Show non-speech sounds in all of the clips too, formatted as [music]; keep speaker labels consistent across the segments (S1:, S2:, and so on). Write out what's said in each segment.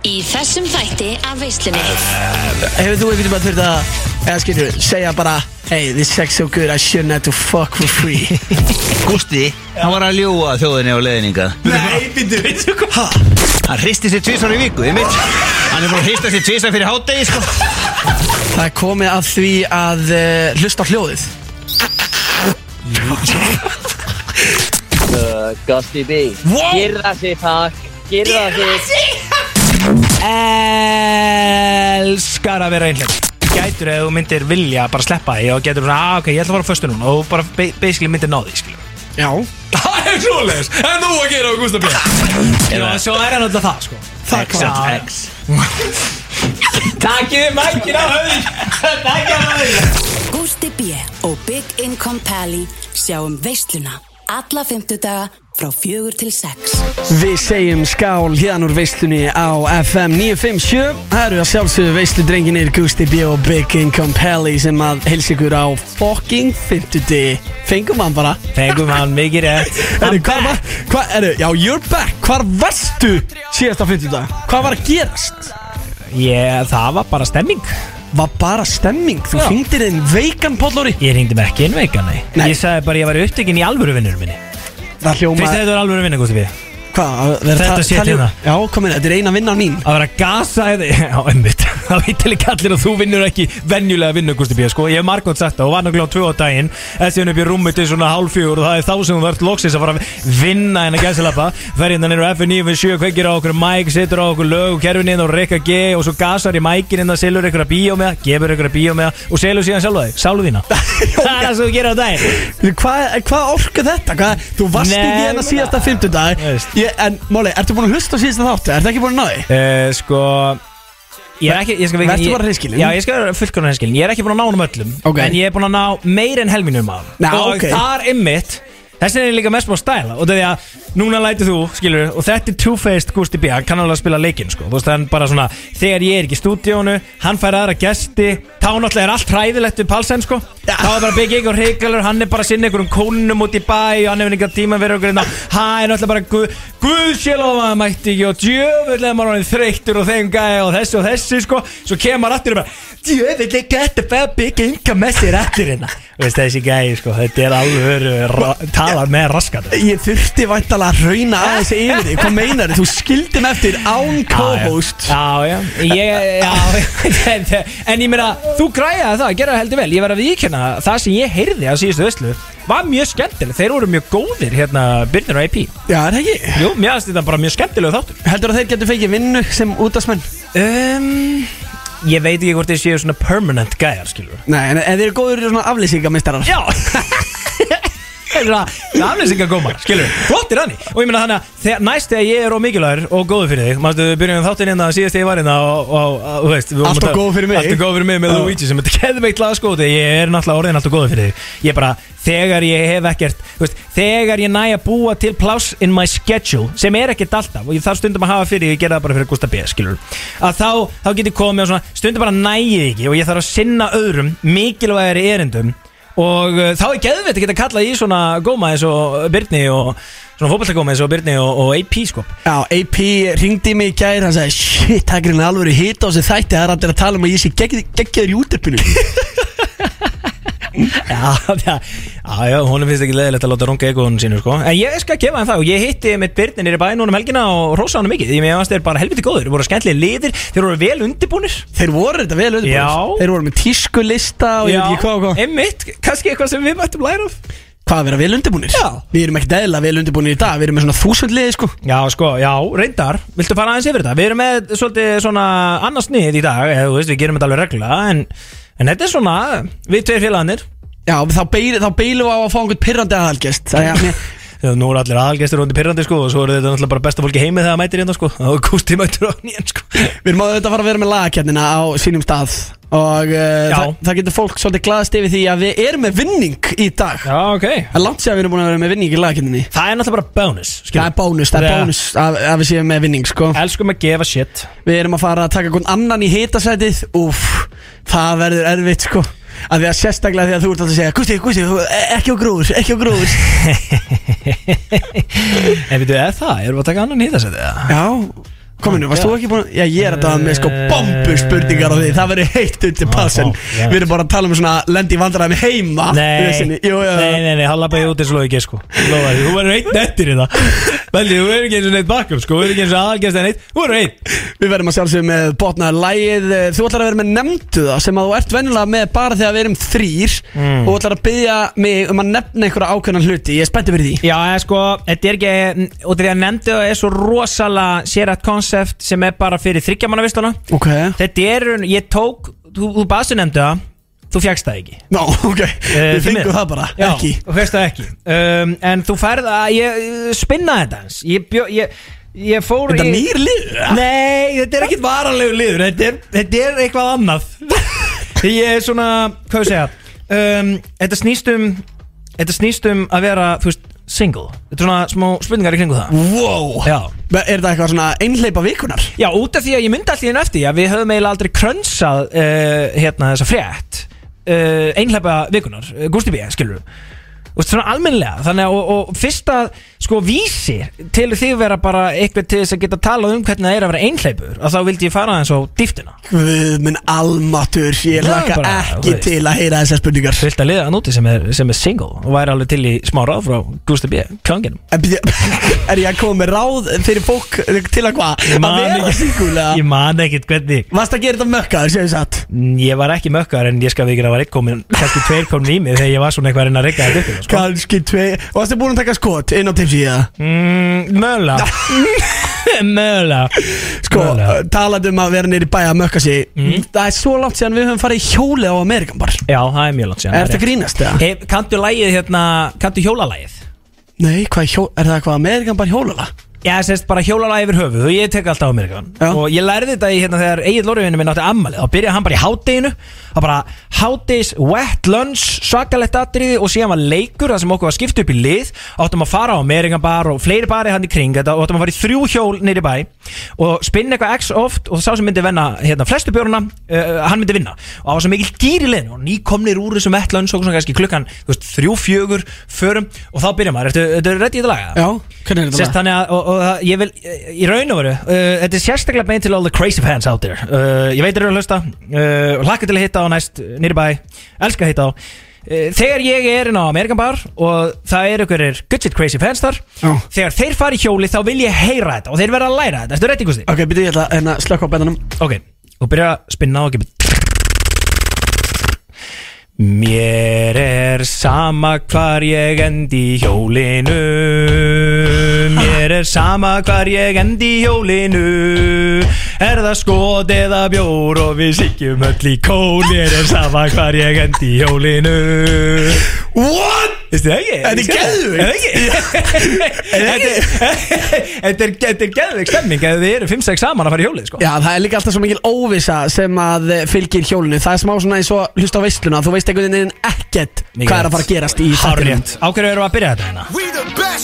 S1: Í þessum þætti af veislunni
S2: Hefur þú einhvern veginn þurft að eða skilur, segja bara Hey, this sex so good, I shouldn't have to fuck for free [laughs]
S3: Gústi, hann var að ljúa þjóðinni á leiðninga
S4: Nei, býttu, veitu hvað
S3: Hann hristi sér tvísar í viku, ég mitt Hann er búin að hrista sér tvísar fyrir hádegi, sko
S2: Það er komið að því að uh, hlusta á hljóðið
S5: Gusti B Girða sig takk Girða sig
S4: Elskar að vera einhvern Gætur ef þú myndir vilja bara sleppa því og gætur svona, ah, ok, ég ætla að fara á föstu núna og bara ba- basically myndir ná því, skilur
S2: Já
S4: [laughs] Það er svoleiðis, en þú að gera á Gustaf B Já, svo er hann alltaf það, sko Það er hvað
S3: X
S4: Takkið mækin á höfðin Takkið á höfðin
S6: Gústi B. og Big Income Pally sjáum veisluna alla fymtudaga frá fjögur til sex.
S2: Við segjum skál hérna úr veislunni á FM 957 Það eru að sjálfsögðu veislu drenginir Gusti B og Big Income Pally sem að helsa ykkur á fucking 50 Fengum hann bara
S4: Fengum hann mikið rétt
S2: Erðu, hvað var, hvað, erðu, já, you're back Hvar varstu síðasta 50 Hvað var að gerast?
S4: Ég, það var bara stemming
S2: Var bara stemming, þú
S4: Já.
S2: hringdir þinn veikan póllóri
S4: Ég ringdi mig ekki inn veika, nei.
S2: Nei.
S4: Ég sagði bara að ég var upptekinn í alvöru vinnur minni
S2: Það hljóma,
S4: Fyrst þetta var alvöru vinna, Gustaf B
S2: hvað, að vera
S4: Þetta
S2: ta-
S4: sé
S2: tala-
S4: hérna.
S2: Já, komin, þetta er eina vinnan mín
S4: að vera að gasa eða, [laughs] já, einmitt það veit til ekki allir að þú vinnur ekki venjulega vinnu, Gusti B, sko, ég hef margótt sagt það og var náttúrulega á tvö á daginn, eða síðan upp í rúmi til svona hálf fjögur og það er þá sem þú verður loksins að fara að vinna hennar gæsilappa ferjindan eru F9 við 7 kveikir á okkur mæk, setur á okkur lög, kerfininn og Rikka G og svo gasar í mækinn innan, selur ykkur að bíó með það, gefur ykkur að bíó með það og selur síðan sjálfa þig, sálu þína það er það sem þú gerir á daginn
S2: Hvað hva orka þetta? Hva, þú varst
S4: Nei,
S2: ekki
S4: ég
S2: hérna
S4: meina-
S2: síðasta 50
S4: Veist.
S2: ég, En Máli, ertu búin að hlusta á síðasta þáttu? Ertu ekki búin að ná því?
S4: Eh, sko Ég er ekki, ég skal
S2: Vertu
S4: ég-
S2: bara hreinskilinn.
S4: Já, ég skal vera fullkonar hinskilin Ég er ekki búin að ná um öllum
S2: Ok.
S4: En ég er búin að ná meir en helminum af
S2: Já,
S4: Og
S2: ok.
S4: þar ymmit Þessi er ég líka mest búin að stæla Og það er að Núna læti þú, skilur Og þetta er two-faced Gusti B Hann kann alveg að spila leikinn, sko Þú veist, hann bara svona Þegar ég er ekki í stúdíónu Hann fær aðra gesti Þá náttúrulega er allt hræðilegt við Palsen, sko
S2: Já.
S4: Þá er bara Big Egg og Hrigalur Hann er bara að sinna einhverjum konunum út í bæ Og hann hefur einhver tíma verið okkur hérna. Hann er náttúrulega bara Guð, guð sé lofa að hann mætti ekki Og djöfulega maður hann þreyttur og þeim gæja Og þessi og þessi sko Svo kemur aftur og bara Djöfulega gæti að fæða Big Egg að með sér eftir hérna Þú Veist þessi gæja sko Þetta er alveg Talar með raskat
S2: Ég þurfti væntalega að rauna aðeins yfir því Hvað meinar þú? skildi mig eftir án co-host
S4: Já, já, ég, já þetta- En ég meina, þú græjaði það, gera það heldur vel Ég verð að viðkjöna það sem ég heyrði á síðustu visslu Var mjög skemmtileg, þeir voru mjög góðir Hérna, Byrnir og AP
S2: Já, er það ekki?
S4: Jú, mér aðstæði þetta bara mjög skemmtileg þáttur
S2: Heldur að þeir getur fengið vinnu sem útasmenn?
S4: um, Ég veit ekki hvort þeir séu svona permanent gæjar, skilur
S2: Nei, en, en þeir eru góður í svona aflýsingamistarar
S4: Já [laughs] Aflýsingar góma, skilur Flottir hann Og ég meina þannig að þegar- næst þegar ég er og mikilvægur og góður fyrir þig Mástu við byrjum þáttinn hérna síðast þegar ég var hérna og, og, og þú veist, við vorum
S2: Allt
S4: að
S2: og
S4: tala-
S2: góður fyrir mig.
S4: Allt og góður fyrir mig með
S2: Já.
S4: Luigi sem þetta keði veitt laga skóti sko, Ég er náttúrulega orðin allt og góður fyrir þig Ég bara, þegar ég hef ekkert þú veist, Þegar ég næ að búa til pláss in my schedule sem er ekkert alltaf og ég þarf stundum að hafa fyrir, ég gera það bara fyrir Gustaf B skilur, að þá, þá get ég komið og svona, stundum bara nægið ekki og ég þarf að sinna öðrum mikilvægari erindum og uh, þá er geðvett að geta kallað í svona góma eins og Byrni og svona fótballtagóma eins og Byrni og, og AP sko
S2: Já, AP ringdi mig í gær Hann sagði, shit, það er grinn alveg hýta á þessu þætti Það er allir að tala um að ég sé gegg- geggjaður í útarpinu
S4: Já, [laughs] já, já, já, honum finnst ekki leðilegt að láta runga egoðunum sínu sko En ég skal gefa hann það og ég hitti mitt Byrni nýri bæði núna um helgina og rosa hann mikið Því mér fannst þeir bara helviti góður, þeir voru skemmtilega liðir, þeir voru vel undirbúnir
S2: Þeir voru þetta vel auðvitað
S4: Já.
S2: Þeir voru með tískulista og ég veit ekki hvað og hvað
S4: Einmitt, kannski eitthvað sem við mættum læra af
S2: hvað að vera vel undirbúinir
S4: Já.
S2: Við erum ekkert eðla vel undirbúinir í dag Við erum með svona þúsund liði sko
S4: Já, sko, já, reyndar, viltu fara aðeins yfir þetta? Við erum með svolítið svona annars nýð í dag, eða þú veist, við gerum þetta alveg regla En, en þetta er svona, við tveir félagarnir
S2: Já, þá, beil, þá beilum við á að fá einhvern pirrandi aðalgest Það
S4: [laughs]
S2: er mér
S4: Já, Nú eru allir aðalgestur undir pyrrandi sko og svo eru þetta náttúrulega bara besta fólki heimi þegar það mætir hérna sko og Gústi mætur á nýjan sko
S2: Við erum auðvitað að fara að vera með lagakjarnina á sínum stað Og uh,
S4: Já.
S2: það, það getur fólk svolítið glaðast yfir því að við erum með vinning í dag
S4: Já, ok
S2: Það er langt sér að við erum búin að vera með vinning í lagakjarninni
S4: Það er náttúrulega bara bónus
S2: Það er bónus, það er
S4: Já.
S2: bónus að, að við séum með vinning sko
S4: Elskum að gefa shit
S2: Við erum að fara að taka einhvern annan í hitasætið Úf, það verður erfitt sko Að því að sérstaklega því að þú ert alltaf að segja Gusti, Gusti, þú- e, ekki á grúður, ekki á grúður
S4: En við duð, er það? Erum við að taka annan í þessu þetta?
S2: Já, Kominu, varst þú ekki búin að... Já, ég er að daða með sko bombu spurningar á því Það verður heitt undir passin
S4: ó, yes.
S2: Við erum bara að tala um svona lendi í vandræðum heima Í
S4: Nei,
S2: vissinni. Jú, jú,
S4: nei,
S2: jú
S4: nei, nei, hann lappaði út eins og loði gesku Lofaði, því, þú verður einn eftir í það Veldi, þú verður ekki eins og neitt bakkur sko, Þú verður ekki eins og aðalgæst en eitt, þú verður einn
S2: Við verðum að sjálfsögum með botnaður lægið Þú ætlar að vera með nefndu það sem að þú ert venjulega með bara þegar við erum þrýr
S4: Mm.
S2: og þú ætlar að byggja mig um að nefna einhverja ákveðna hluti Ég er spenntur fyrir því
S4: Já, eða sko, þetta er ekki Og því að nefndu það er svo rosalega sérætt konsept sem er bara fyrir þryggjamannavisluna
S2: Ok
S4: Þetta er, ég tók, þú, þú baðstu nefndu það Þú fjagst það ekki
S2: Ná, ok,
S4: Eh,
S2: við
S4: því miður.
S2: fengum það bara,
S4: Já,
S2: ekki
S4: þú veist það ekki um, En þú færð að ég eh, spinna þetta eins Ég, bjó, ég, ég fór
S2: Þetta
S4: í-
S2: nýr lið
S4: Nei, þetta er ekkit varanlegu liður Þetta er, þetta er eitthvað
S2: [laughs]
S4: annað Ég er svona, hvað við segja um, Þetta snýst um Þetta snýst um að vera, þú veist, single Þetta er svona smá spurningar í kringu það
S2: Wow
S4: Já.
S2: Er þetta eitthvað svona einhleipa vikunar?
S4: Já, út af því að ég myndi allir inn eftir því að við höfum eiginlega aldrei krönsað uh, hérna þessa frétt uh, einhlepa vikunar, uh, Gusti B, skilur og svona almennlega þannig að og, og fyrsta sko vísir til því vera bara eitthvað til þess að geta talað um hvernig það er að vera einhleipur að þá vildi ég fara eins og dýftina
S2: Guð minn almatur, ég
S4: Já,
S2: laka
S4: bara, þú
S2: ekki
S4: veist.
S2: til að heyra þessar spurningar
S4: fyllt að liða hann úti sem er, sem er single og væri alveg til í smá ráð frá Gusti B, klanginum
S2: En byrja- [laughs] Er ég að koma með ráð fyrir fólk til að hvað? Að vera
S4: ég
S2: singulega
S4: man ekkert hvernig
S2: Varst að gera þetta mökkaður, séu satt
S4: ég var ekki mökkar en ég skal við ekki að var eitt komin kannski tveir komin í mig þegar ég var svona eitthvað að reyna að reyka þetta upp hérna, sko.
S2: Kanski tvei Og varstu búin að taka skot inn á tipsi í það
S4: Mm, [laughs] mögulega Mögulega
S2: Sko,
S4: Mögulega. Mm.
S2: talandi um að vera nýri bæ að mökka sig Það er svo langt síðan við höfum farið í hjóli á Amerikan bara
S4: Já, það er mjög langt síðan
S2: Er þetta grínast eða?
S4: Hef, Kanntu lægið hérna, kanntu hjólalægið
S2: Nei, hvað hjó, er það hvað Amerikan bara hjólala?
S4: Já, sérst bara hjólalægið yfir höfuð og ég tek alltaf Amerikan
S2: Já.
S4: Og ég lærði þetta í, hérna, þegar Egil Lóriðinu minn átti ammalið Þá byrjaði hann bara í hátdeginu Það bara hátdegis, wet lunch, svakalegt atriði Og síðan var leikur, það sem okkur var skipt upp í lið Áttum að fara á Amerikan bar og fleiri bari hann í kring þetta Og áttum að fara í þrjú hjól niður í bæ Og spinna eitthvað x oft Og sá sem myndi vinna hérna, flestu björnuna uh, Hann myndi vinna Og það var svo mikill gýr í liðinu Og nýkomnir úr þessum etla unnsók Svona kannski klukkan þú veist, þrjú, fjögur, förum Og þá byrja maður, ertu, ertu reddi í þetta laga?
S2: Já, hvernig er
S4: Sérst
S2: þetta?
S4: þannig að, og, og það- ég vil, í raun og veru, uh, þetta er sérstaklega beint til all the crazy fans out there. Uh, ég veit þeir eru að hlusta, uh, hlakka til að hitta á næst, nýri bæ, elska að hitta á. Uh, þegar ég er inn á Amerikan Bar og það eru einhverjir good shit crazy fans þar,
S2: Já.
S4: þegar þeir fara í hjóli þá vil ég heyra þetta og þeir verða að læra þetta, þetta er rétt í gusti.
S2: Ok, byrju ég ætla að hérna, slökka á bennanum
S4: Ok, og byrja að spinna og gefa Mér er sama hvar ég endi í hjólinu Mér er sama hvar ég endi í hjólinu Er það skot eða bjór og við sikjum öll í kól Mér er sama hvar ég endi í hjólinu
S2: What?
S4: Veistu það ekki?
S2: Þetta er geðveikt.
S4: Er það ekki?
S2: [laughs]
S4: Þetta er- [laughs] Þetta er- þetta er geðveik stemming ef þið eru 5-6 saman að fara í hjólið sko
S2: Já, það er líka alltaf svo mikil óvissa sem að eh, fylgir hjólinu Það er smá svona eins og hlusta á veisluna Þú veist einhvern veginn ekkert
S4: Mikið
S2: hvað er að fara að gerast í þættinum.
S4: Hárrétt Á hverju erum við að byrja þetta hérna?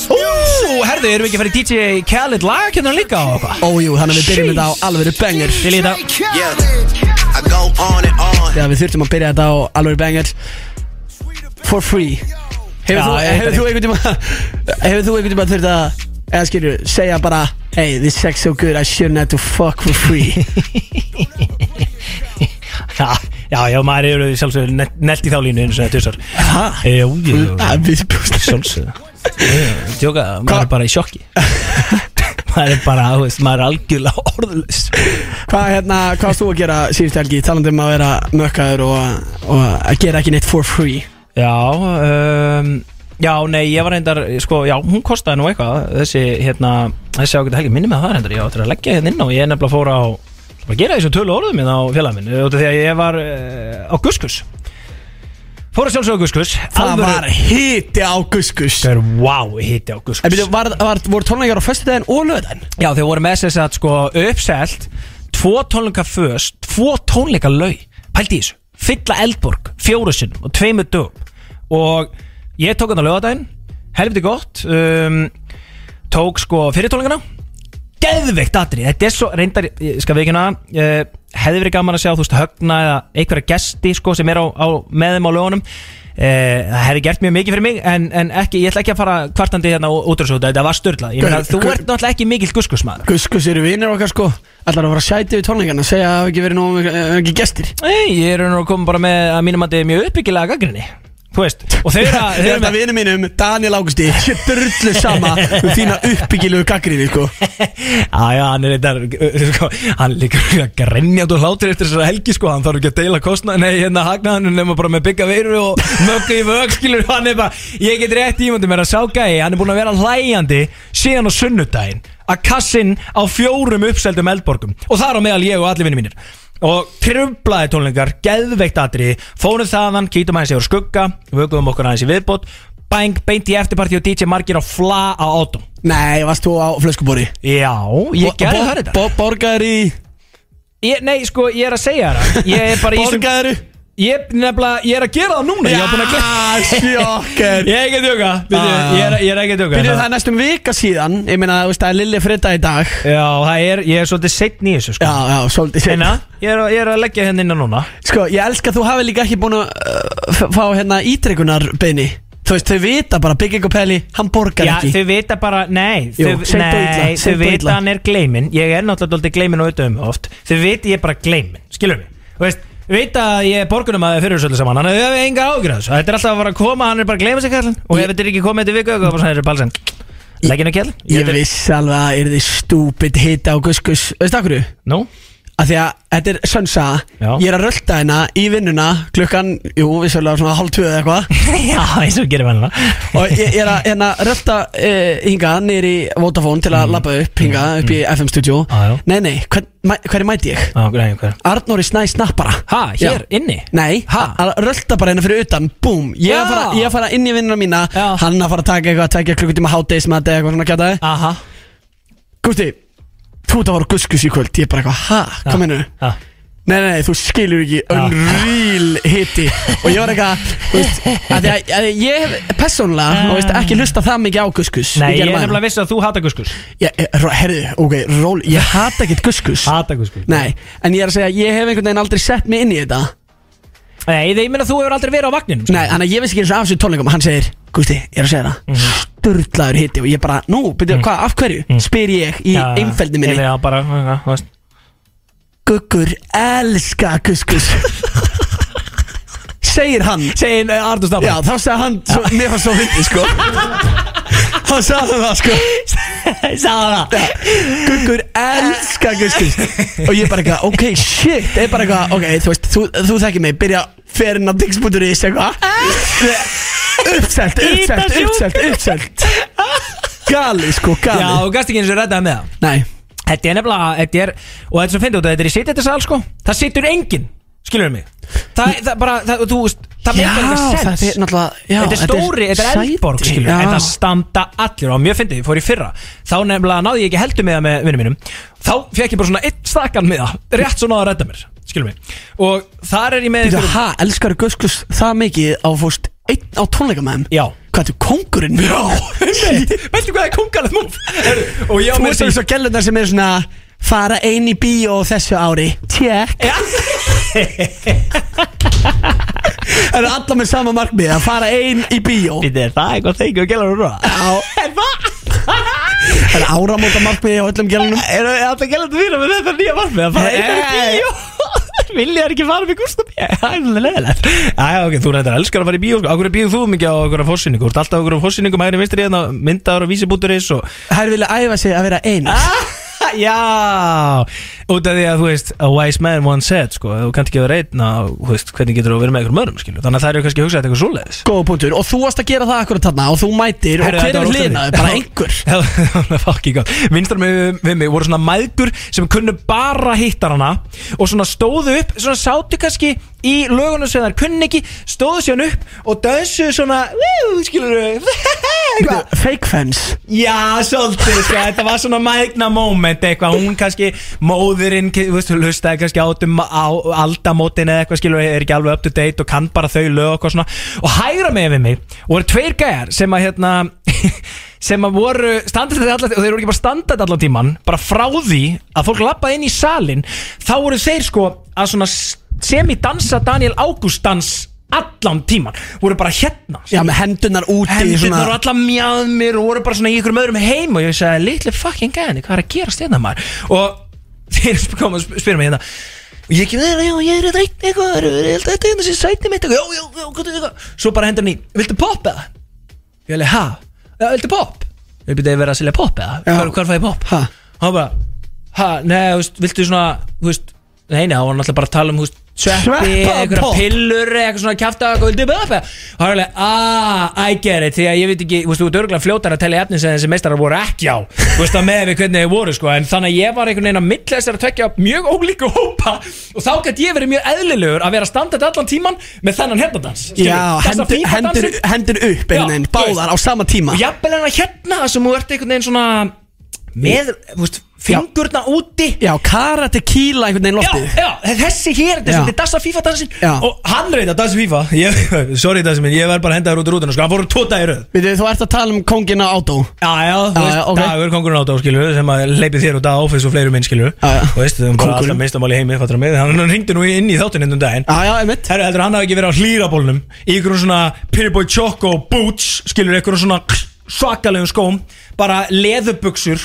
S4: Ú, herðu, erum við ekki að fara í DJ Khaled lagakjöndan líka á okkar?
S2: Ójú, þannig að við byrjum
S4: Jeez.
S2: þetta á alvöru banger
S4: Til í þetta
S7: Yeah, I go on and on.
S2: Þegar við þurftum að byrja þetta á alvöru banger For free Hefur
S4: Já,
S2: þú,
S4: ég
S2: hefur þú einhvern
S4: veit það
S2: tíma Hefur þú einhvern tíma þurft að Eða skilju, segja bara Hey, this sex so good, I shouldn't have to fuck for free [laughs]
S4: Já, já, já, maður eru sjálfsögur nelt í þá línu eins og þetta þessar
S2: Ha?
S4: Jú, jú,
S2: Ah, við-
S4: sjálfsögur Tjóka, maður
S2: Hva-
S4: er bara í sjokki [laughs] Maður er bara, þú veist, maður er algjörlega orðlaus
S2: Hvað hérna, hvað varst þú að gera síðust helgi Talandi um að vera mökkaður og, og að gera ekki neitt for free
S4: Já, um, já, nei, ég var reyndar, sko, já, hún kostaði nú eitthvað Þessi, hérna, þessi ágæta helgi, minni með það reyndar Ég átti að leggja hérna inn á, ég er nefnilega fór á Það að gera þessu tölu orðum minn á félagin minn út af Því að ég var uh, á Guskus Fór að sjálfsögðu á Guskus
S2: Það var hiti á guskus
S4: Það er wow, hitti á
S2: En
S4: Guskus
S2: byrju, var, var, voru tónleikar á föstudaginn og löðan?
S4: Já, þeir voru með þess að sko uppselt Tvo tónleika föst, tvo tónleika lau Pældi í þessu, fylla eldborg Fjóru sinnum og tveimur dögum Og ég tók hann á laugardaginn Helviti gott um, Tók sko fyrir tónleikana Geðveikt atrið, þetta er svo reyndar ég Skal við ekki hana uh, Hefði verið gaman að sjá, þú veist, högna eða einhverja gesti sko sem er á, á, með þeim á lögunum eh, það hefði gert mjög mikið fyrir mig en, en ekki, ég ætla ekki að fara kvartandi hérna og útrúsóta, þetta var störla ég meina,
S2: Hver-
S4: þú
S2: hver-
S4: ert náttúrulega ekki mikill guskusmaður
S2: Guskus eru vinnir okkar sko Allar að fara að sæti við tónleikana Segja að það hafi ekki verið nógu eh, ekki gestir
S4: Nei, ég er nú að koma bara með að mínum að þetta er mjög uppbyggilega gaggrinni Þú veist, og þeir eru
S2: [laughs] Ég
S4: að- þeir
S2: held
S4: eru
S2: að
S4: með-
S2: vinnu Hérna, mínum, Daniel Águsti Ég drullu sama um þína uppbyggilegu gaggrinni sko
S4: [laughs] Já, já, hann er eitthvað sko, hann er líka að grenja út og hlátur eftir þessari helgi sko, hann þarf ekki að deila kostna nei, hérna hagnaðanum nema bara með bygga veiru og möggu í vögg, skilur, hann er bara ég get rétt ímyndi mér að sá gæi, hann er búin að vera hlæjandi síðan á sunnudaginn að kassinn á fjórum uppseldum eldborgum og þar á meðal ég og allir vinni mínir og trublaði tónlingar, geðveikt atri fórum þaðan, kýtum aðeins yfir skugga vöguðum okkur aðeins í viðbót bang, beint í eftirparti og DJ Margir á fla á átum
S2: Nei, varst þú á flöskubori?
S4: Já, ég gerði það þetta
S2: Borgaður í
S4: Ég, nei, sko, ég er að segja þér það Ég er bara í þessum-
S2: Borgaður í
S4: Ég, nefnilega, ég er að gera það núna Ég er búin að
S2: Ah,
S4: gera
S2: sjokker.
S4: Ég er ekki að djóka byrju,
S2: Ah.
S4: ég, er, ég er ekki að djóka
S2: Byrjuðu það
S4: það-
S2: er næstum vika síðan Ég meina, þú veist, það er Lilli Fredda í dag
S4: Já, það er, ég er svolítið seitt í þessu,
S2: Já,
S4: sko
S2: já, svolítið
S4: Einna, ég er, að- ég er að leggja henni innan núna
S2: Sko, ég elska að þú hafi líka ekki búin að uh, f- fá hérna ítrekunar beini Þú veist, þau vita bara Bygging og Peli, hann borgar
S4: Já,
S2: ekki
S4: þau vita bara, nei
S2: Jú,
S4: Þau,
S2: seint og illa,
S4: nei, þau
S2: seint og
S4: vita
S2: illa.
S4: hann er gleimin Ég er náttúrulega dóldi gleimin og auðvitað um oft Þau vita ég er bara gleimin, skilur mig Þú veist, vita að ég er borgunum að fyrir þessu öllu saman Þannig að þau hefur enga ágjur þessu Þetta er alltaf að fara að koma, hann er bara að gleima sig kallin Og ef þetta er ekki komið til viku, þá er bara svona þetta er balsan Legginu kallin
S2: Ég vissi alveg að er þið stúpid hita á guskus Veist það hverju?
S4: Nú,
S2: [laughs] Af því að þetta er sönsa
S4: Já.
S2: Ég er að rölda hérna í vinnuna Klukkan, jú, vissulega svona hálf tvöð eða eitthvað
S4: já, eins og hérna. gerir vanlega
S2: Og ég, ég er að hérna, rölda uh, hingað Nýr í Vodafone til
S4: Mm.
S2: að labba upp Hingað upp í FM studio
S4: Ah, Já, já.
S2: Nei, nei, hvern, mæ- hverju mæti ég?
S4: Á, hvernig, hvernig
S2: Arnóri Snæ snappara
S4: Ha, hér, inni?
S2: Nei,
S4: Ha?
S2: hann rölda bara hérna fyrir utan Búm, ég er að
S4: Já.
S2: fara, ég að fara inn í vinnuna mína
S4: Já.
S2: Hann að fara að taka eitthvað að tekja klukkutíma hátdeismat eða eitthvað svona kjátaði
S4: Aha
S2: Gústi, þú þetta var guskus í kvöld Ég er bara eitthvað, ha, hvað meinu?
S4: Ha.
S2: Nei, nei, nei, þú skilur ekki Unreal hiti Og ég var eitthvað, þú veist að því að, að Ég hef persónulega, þú veist, ekki hlusta það mikið á guskus
S4: Nei, ég er nefnilega viss að þú hata guskus
S2: nefnilega Herðu, eh, ok, ról, ég hata ekkert guskus
S4: Hata guskus
S2: Nei, en ég er að segja, ég hef einhvern veginn aldrei sett mig inn í þetta
S4: Nei, ég meina þú hefur aldrei verið á vagninum sko.
S2: Nei, þannig að ég vissi ekki eins og af þessu tónleikum Hann segir, Gusti, ég er að segja það mm
S4: Mhm.
S2: Sturlaður hitti og ég bara, nú, byrju, hvað, af hverju? Spyr ég í einfeldi minni
S4: Já, bara, já, þú veist
S2: Guggur elska
S4: [laughs]
S2: kuskus Segir hann
S4: Segin Arnur Staffan
S2: Já, þá segir hann, svo, mér fannst svo hindi, sko Þá sagði hann það, sko
S4: sagði það
S2: Guggur elska kuskus Og ég bara eitthvað, ok, shit Ég bara eitthvað, ok, þú veist, þú, þú þekkir mig Byrja ferinn á dix.is eitthvað Uppselt, uppselt, uppselt, uppselt Gali, sko,
S4: Já,
S2: gali
S4: og gæst ekki eins og reddaði með það
S2: Nei,
S4: Þetta er nefnilega, þetta er Og þetta er svo fyndið út að þetta er í sitt þetta sal sko Það situr enginn, skilur mig Það, það bara, það, þú veist Það
S2: Já,
S4: meikar ekki sens
S2: þetta er náttúrulega- já,
S4: Þetta er
S2: þetta er
S4: stóri, þetta er
S2: sæti,
S4: eldborg skilur
S2: já.
S4: En það standa allir og mjög fyndið, ég fór í fyrra Þá nefnilega náði ég ekki heldur með það með vinnum mínum Þá fekk ég bara svona einn stakkan með það Rétt svo náði að redda mér, skilur mig Og þar er ég með
S2: Þú
S4: einhverjum-
S2: ha, elskar kuskus það mikið á fórst einn á tónleika með þeim
S4: Já.
S2: Hvað, þú kongurinn? Já, [laughs]
S4: Veistu hvað er kongalegt múf? Og ég á
S2: Þú
S4: með
S2: veist eins og gælunar sem er svona fara einn í bíó þessu ári Tjekk Það [laughs] eru alla með sama markmið að fara einn í bíó
S4: Þetta er það eitthvað þengjum og gælar og rúða [laughs]
S2: Það [laughs] eru áramóta markmið á öllum gælunum
S4: Er það alltaf gælant að vera með þetta nýja marmið að fara
S2: Nei.
S4: einu bíó?
S2: [laughs]
S4: Vilja er ekki fara með Gústa B. Það er alveg leðilegt Æja, ok, þú reyndar elskar að fara í bíó sko. Akkur býðu þú mikið á okkur af fórsýningu Þú ert alltaf á okkur af fórsýningu Mæri vinstri hérna myndaður og vísibúturis og...
S2: Það eru vilja æfa sig að vera einn
S4: Ah. Já Út af því að þú veist A wise man once said sko, ef Þú kannt ekki að vera einn að, þú veist, Hvernig getur þú að vera með einhverjum öðrum skilur? Þannig að það eru kannski að hugsa þetta eitthvað svoleiðis [laughs]
S2: Góða punktur Og þú varst að gera það akkurat þarna og þú mætir Og
S4: Herru,
S2: hver
S4: þetta
S2: er
S4: var
S2: hlinaði?
S4: ótrúlegt.
S2: Bara einhver
S4: Já, það var fucking gott Vinstar með, með mig voru svona mæðgur sem kunnu bara hittar hana og svona stóðu upp, svona sátu kannski í lögunum sem þær kunni ekki stóðu síðan upp og dansuðu svona "Wú", skilur [laughs] við
S2: Fake fans
S4: Já, svolítið, sko, þetta var svona mægna moment eitthvað, hún kannski, móðurinn, ki- þú veist, hún hlustaði kannski átum á aldamótin eða eitthvað, skilur, er ekki alveg up to date og kann bara þau lög og eitthvað svona og hægra með við mig voru tveir gæjar sem að, hérna, [laughs] sem að voru standandi allan, og þeir voru ekki bara standandi allan tíman, bara frá því að fólk lappaði inn í salin, þá voru þeir, sko, að svona semi-dansa Daniel Ágúst dans allan tíman voru bara hérna
S2: Já, með hendunar úti í
S4: Hendurnar
S2: svona-
S4: voru allar mjáð mér og voru bara svona í ykkurum öðrum heim og ég sagði, litli fucking gæðinni, hvað er að gera stjórna maður? Og [laughs] þeir koma að spyrja mig hérna og ég ekki, já, ég er reynd eitthvað, er- er- held að þetta er hérna sem sæti mitt eitthvað, já, já, já, hvað er eitthvað Svo bara hendur hann í, viltu pop eða? Ég hefði, ha? Já, viltu pop? Við byrjaði að vera að selja pop eða?
S2: Já.
S4: Hvar, hvar fæði pop?
S2: Ha?
S4: Og hann bara, ha, neða, þú veist, viltu svona, þú veist, nei, neða, hann var náttúrulega bara að tala um, þú veist, sveppi,
S2: Sveppa,
S4: einhverja
S2: pop.
S4: pillur, eitthvað svona kjafta, eitthvað, vildu upp eða? Og hann var alveg, aaa, I get it, því að ég veit ekki, þú veist, þú ert örgulega fljótar að telja efni sem þessi meistarar voru ekki á, þú veist, að með við hvernig þeir voru, sko, en þannig að ég var einhvern veginn að milla þessar að tvekja mjög ólíku hópa og þá gætt ég verið mjög eðlilegur að vera standart allan tíman með þennan hérna hendadans, skilurðu?
S2: Já,
S4: Þessa
S2: hendur,
S4: fína
S2: hendur,
S4: dansinn.
S2: hendur upp
S4: Já,
S2: einhvern veginn,
S4: þú
S2: báðar á sama tíma
S4: Og jafnvel en að hérna þar sem þú ert einhvern veginn svona með, þú veist, fingurna úti
S2: Já, karate kýla einhvern veginn
S4: Já,
S2: loftið
S4: já, þessi hér,
S2: Já.
S4: þessi, þetta er dansa FIFA dansin
S2: Já.
S4: Og hann reyndi að dansa FIFA ég, [laughs] Sorry dansin minn, ég verð bara að henda þér út úr rútuna sko. Hann fór tóta í röð
S2: Við þú ert að tala um kongina átó
S4: Já, já, þú
S2: Já,
S4: veist,
S2: já, ok.
S4: dagur kongurinn átá, skilur Sem að leipið þér út á áfis og fleirum minn, skilur
S2: Já, já.
S4: Þú veist, þú erum bara
S2: Kóngurinn.
S4: alltaf meistamáli heimi, fattur að mig Hann hann hringdi nú inn í þáttinn ennum daginn
S2: Já, já, einmitt
S4: Herru, heldur hann hafi ekki verið á hlýrabólnum Í ykkur svona Piriboy Choco boots Skilur ykkur svona svakalegum skóm Bara leðubuxur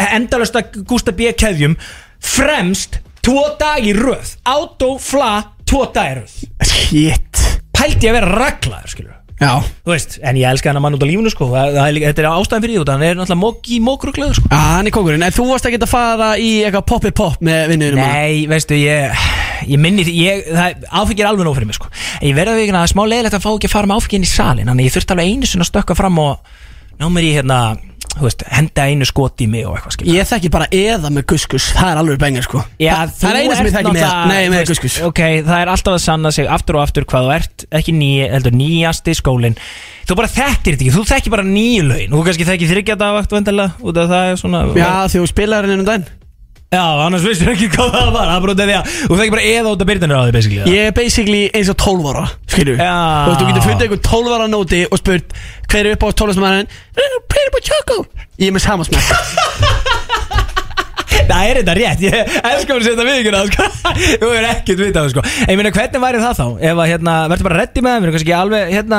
S4: Endalösta Gústa B. keðjum Fremst tvo dag í röð Átó, fla, tvo dag í röð
S2: Shit
S4: Pældi ég að vera raglaður, skilur
S2: Já,
S4: Þú veist, en ég elska hann að mann út á lífinu sko Það- það er líka- Þetta er ástæðan fyrir því út Hann er náttúrulega móki mókruglaður sko
S2: Já, hann er kongurinn En þú varst ekki að fara í eitthvað poppi pop með vinnurum
S4: Nei, veistu, ég, ég minni því ég, það, Áfengi er alveg nóg fyrir mig sko En Ég verða við ekki að það er smá leiðilegt að fá ekki að fara með áfengi inn í salin Þannig að ég þurfti alveg einu sinni að stökka fram og Ná mér í hérna, þú veist, henda einu skoti í mig og eitthvað skilja
S2: Ég þekki bara eða með guskus Það er alveg bengar sko Þa, Það er eina sem ég þekki með Nei, með guskus
S4: Ok, það er alltaf að sanna sig aftur og aftur hvað þú ert Ekki nýja, heldur nýjasti skólinn Þú bara þekktir þetta ekki, þú þekki bara nýju lögin Þú kannski þekki þryggja dagvakt vendarlega Út af það er svona
S2: Já, því þú spilaði henni um daginn
S4: Já, annars veistu ekki hvað það var Það er bara út af því að þú þekki bara eða út af byrðinu á því basically
S2: Ég er basically eins og 12 ára Skilju
S4: Já.
S2: Þú veist, þú getur fundið einhver 12 ára nóti Og spurt Hver er upp á tólasmæðin Playboy Choco Ég er með sama smæk
S4: Það er þetta rétt, ég elskar að setja viðkjöna sko. Þú er ekkert vitað sko. En ég meina, hvernig væri það þá? Ef að, hérna, verður bara reddi með það, við erum kannski ekki alveg hérna,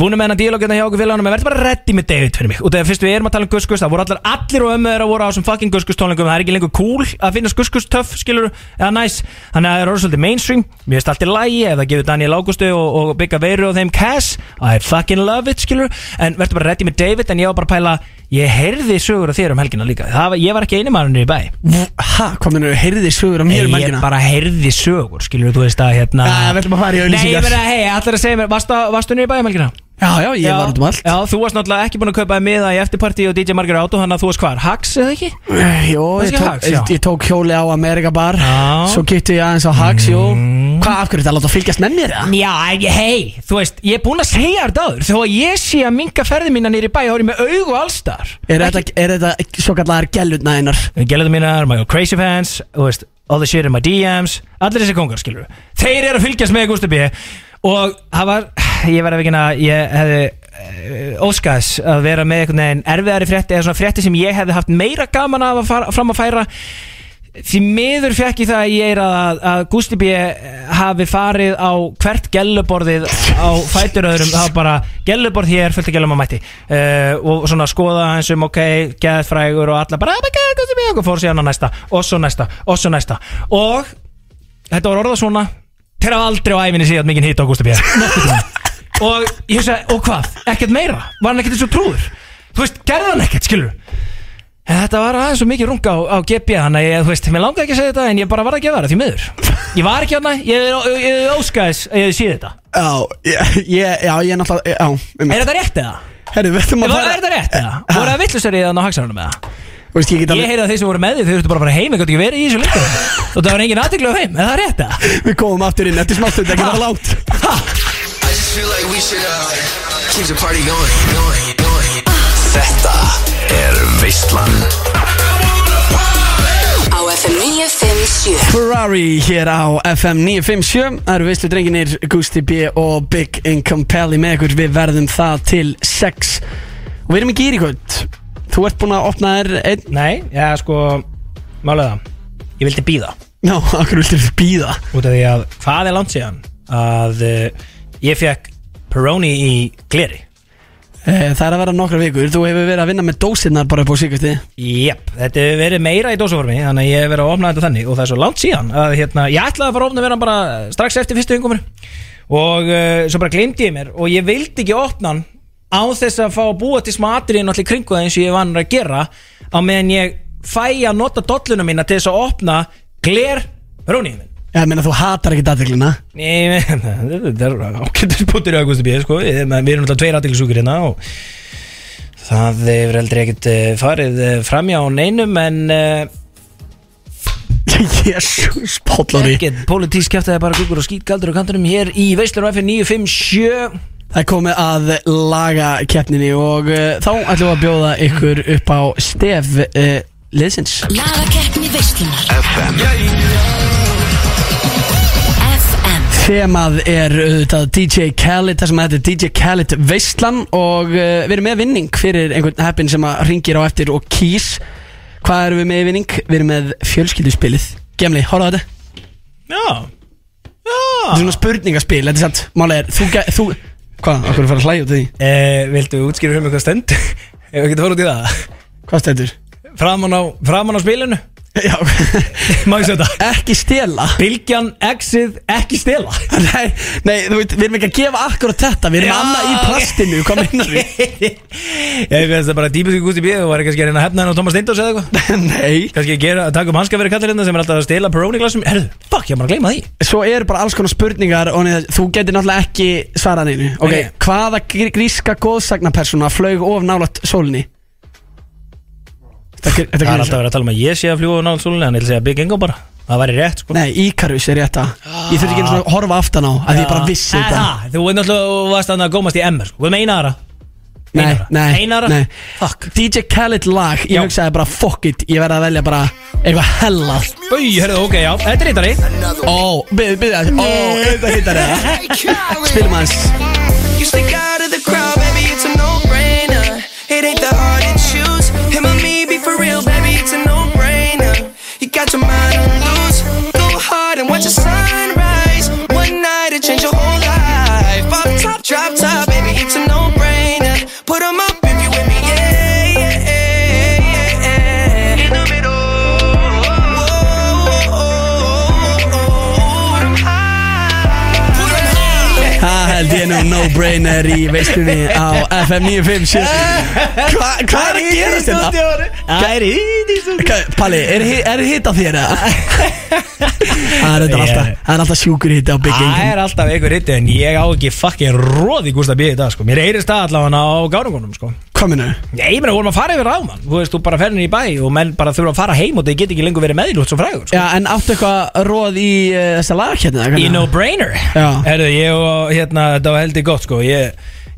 S4: búin með hennar dílók hérna hjá okkur félagunum En verður bara reddi með David fyrir mig Og þegar fyrst við erum að tala um Guskus, það voru allar allir og ömmu þeirra voru á þessum fucking Guskus tónleikum Það er ekki lengur cool að finna Guskus töff, skilur, eða næs Þannig að það er orðið svolítið mainstream, mér finnst allt í lægi Ef það gefur Daniel Águstu og, og Bigga Veiru og þeim Cass I fucking love it, skilur En verður bara reddi með David, en ég var bara að pæla Ég heyrði sögur af þér um helgina líka það, var- Ég var ekki einu maðurinn í bæ
S2: Ha, hvað minnur þú? Heyrðið sögur á
S4: Nei,
S2: mér um
S4: ég
S2: helgina?
S4: bara heyrði sögur, skilur þú veist að hérna
S2: Já, við ætlum að fara í
S4: Nei, ég
S2: auðlýsingar
S4: verða, hei, allir að segja mér, varstu, varstu niður í bæjum helgina?
S2: Já, já, ég var út um allt
S4: Já, þú varst náttúrulega ekki búin að kaupa þér miða í eftirparti og DJ Margar átó, hann að þú varst hvar, Hax eða ekki?
S2: Jó, ég
S4: Kannski
S2: tók,
S4: Hax, já.
S2: ég tók hjóli á America Bar
S4: Já.
S2: Svo gipti ég aðeins á Hax, jú Hvað, af hverju þetta láta fylgjast með mér, eða?
S4: Já, hei, þú veist, ég er búin að segja þér dáður þó að ég sé að minga ferði mína niður í bæ og er ég með augu allstar
S2: Er þetta, er þetta svo kallar gælutnæðinar?
S4: Gælaðu mínar, my crazy fans, þú veist, all the shit in my DMs Allir þessi kongar, skilur Þeir eru að fylgjast með Gusti B Og það var, ég verði að vikina, ég hefði eh, óskað þess að vera með einhvern veginn erfiðari frétti eða svona frétti sem ég hefði haft meira gaman af að fara, fram að færa Því miður fekk ég það að ég er að, að Gusti B eh, hafi farið á hvert gelluborðið á fætur öðrum það var bara gelluborð hér fullt að gellum að mætti uh, og svona skoða eins um ok geðfrægur og alla bara oh my god Gusti B og fór síðan á næsta og svo næsta og svo næsta og þetta var orðað svona þeir hafa aldrei á æfinni síðan mikið hitt á Gusti B og ég hugsa og hvað ekkert meira var hann ekkert eins og trúður þú veist gerði hann ekkert skilur En Þetta var aðeins svo mikið runga á, á GB Þannig að ég, þú veist, mér langaði ekki að segja þetta En ég bara var að gefa það því miður Ég var ekki hérna, ég, ég, ég óskaðis að ég sé þetta
S2: Já, ég, ég- já, ég er náttúrulega Já, um,
S4: Er þetta rétt eða?
S2: herru, við ætlum
S4: Er,
S2: að
S4: var, er þetta rétt eða? Voru það villustur í þannig á hagsarunum eða?
S2: Þú veist, ég get
S4: Ég
S2: alveg
S4: heyrði að þeir sem voru með því, þeir þurftu bara að fara heim Ég gott ekki verið í þessu lengur Og það var engin aðteglu á heim, er það rétt eða?
S2: Við komum aftur inn, þetta er smátt, þetta er ekki bara langt
S7: I just feel like we should uh, keep the party going, going, going. Þetta er Veistlan
S6: Á FM 957
S2: Ferrari hér á FM 957 Það eru veistlu drenginir Gusti B og Big Income Pally með ykkur Við verðum það til 6 Og við erum í gýr í kvöld Þú ert búinn að opna þér einn
S4: Nei, já sko, málega það Ég vildi býða
S2: [laughs] Ná, akkur viltu býða
S4: Út af því að hvað er langt síðan að eh, Ég fekk Peroni í gleri
S2: Eh, Það er að vera nokkra vikur Þú hefur verið að vinna með dósinnar bara upp á síkusti
S4: Jep, þetta hefur verið meira í dósaformi Þannig að ég hef verið að opna þetta þannig Og það er svo langt síðan að, hérna, Ég ætlaði að fara að opna verðan bara strax eftir fyrstu yngumur Og uh, svo bara gleymdi ég mér Og ég vildi ekki opna hann Á þess að fá að búa til smá atriðin Allir kringu það eins og ég vann að gera Á meðan ég fæ að nota dolluna mína Til þess að opna gler Rónið minn
S2: Ég meina þú hatar ekki aðdeglina
S4: Nei, [laughs] ég meina, þetta er ákveður bútur í augustu bíð, sko, við við erum alltaf tveir aðdeglisúkur hérna og það hefur aldrei ekkert eh, farið eh, framjá neinum en eh,
S2: [laughs] Jésús, pállóri
S4: ekkert pólitísk kæftið er bara gugur og skýt galdur og kanturum hér í Veistlur FM 957
S2: Það er komið að laga keppninni og uh, þá ætlum við að bjóða ykkur upp á stef uh, liðsins
S1: Lagakeppni veislunar FM
S2: Þemað er auðvitað DJ Khaled, það sem þetta er DJ Khaled Veistlan og uh, við erum með vinning fyrir einhvern heppin sem að ringir á eftir og kýs Hvað erum við með í vinning? Við erum með fjölskylduspilið Gemli, horfðu á þetta
S4: Já,
S2: Þetta er
S4: já
S2: svona spurningaspil, þetta er sant Málega er, þú, gæ- þú Hvað, okkur er að fara að hlæja út í því?
S4: eh, Viltu útskýra fyrir mig hvað [laughs] stend? Ef við getum farið út í það
S2: Hvað stendur?
S4: Framan á, framan á spilinu?
S2: Já,
S4: [laughs] Má ég segja þetta?
S2: ekki stela
S4: Bilgjan, exið, ekki stela
S2: [laughs]
S4: [laughs]
S2: Nei, nei, þú veit, við erum ekki að gefa akkurat þetta Við erum
S4: Já,
S2: annað í
S4: ok.
S2: plastinu, hvað meinar
S4: [laughs]
S2: við?
S4: Ég finnst það bara típist í Gusti B og var kannski að reyna að hefna henn á Thomas Steindors eða eitthvað
S2: Nei
S4: Kannski að gera, að taka um hanska fyrir kallarinn sem er alltaf að stela Peroni glasum Herðu, fuck, ég var bara að gleyma því
S2: Svo eru bara alls konar spurningar og neða, þú getur náttúrulega ekki svarað neinu Ok,
S4: Nei.
S2: hvaða gr- gríska góðsagnapersona flög of nálat sólinni? Þetta, gr- þetta
S4: Það er
S2: gríska-
S4: alltaf að vera að tala um að ég sé að fljúa á nátt súlunni Þannig að segja Big Ingo bara, það væri rétt sko
S2: Nei, Íkarus er rétt að Ég þurfti ekki einu sinni að horfa aftan á að ég bara vissi
S4: Eh,
S2: þetta
S4: það, Þú veit náttúrulega þú varst að gómast í MR sko, við með einara
S2: Nei,
S4: Einara.
S2: nei,
S4: Einara?
S2: nei
S4: Fuck.
S2: DJ Khaled lag, ég
S4: Já.
S2: hugsaði bara fuck it Ég verði að velja bara eitthvað hella
S4: Új, herðu, ok, já, þetta er hittari
S2: Ó, byrðu, byrðu aðeins Ó, auðvitað hittar það Spilum aðeins
S8: You stick out of the crowd, baby, it's a no-brainer. It ain't that hard to choose. Him or me, be for real, baby, it's a no-brainer. You got your mind on loose. Go hard and watch the sunrise. One night, it changed your whole life. Pop top, drop top, baby, it's a no-brainer. Put 'em up if you with me, yeah, yeah, yeah, yeah, yeah. In the middle. Whoa, oh, oh, oh, oh. Put 'em high. Put 'em high.
S2: Það held ég nú no-brainer í veistunni á FM 957 Hva- Hvað er að hérna? gera þetta?
S4: Það er hittari
S2: Hvað- Palli, er, hi- er hitt á þér eða? Það er þetta alltaf Það er alltaf sjúkur hitt á Big
S4: Það
S2: Ingen
S4: er alltaf einhver hitti en ég á ekki fucking róði Gústa B í dag sko Mér heyrist það allavega á gárungunum sko
S2: Kominu
S4: Nei, ég meina, vorum að fara yfir ráðmann Þú veist, þú bara ferðin í bæ og menn bara þurfa að fara heim og þau get ekki lengur verið með því út svo frægur sko.
S2: Já, en áttu eitthvað róð í uh, þessa lag hérna?
S4: Í
S2: hvernig?
S4: no-brainer
S2: Já.
S4: Herðu, ég og hérna, þetta var heldig gott sko Ég,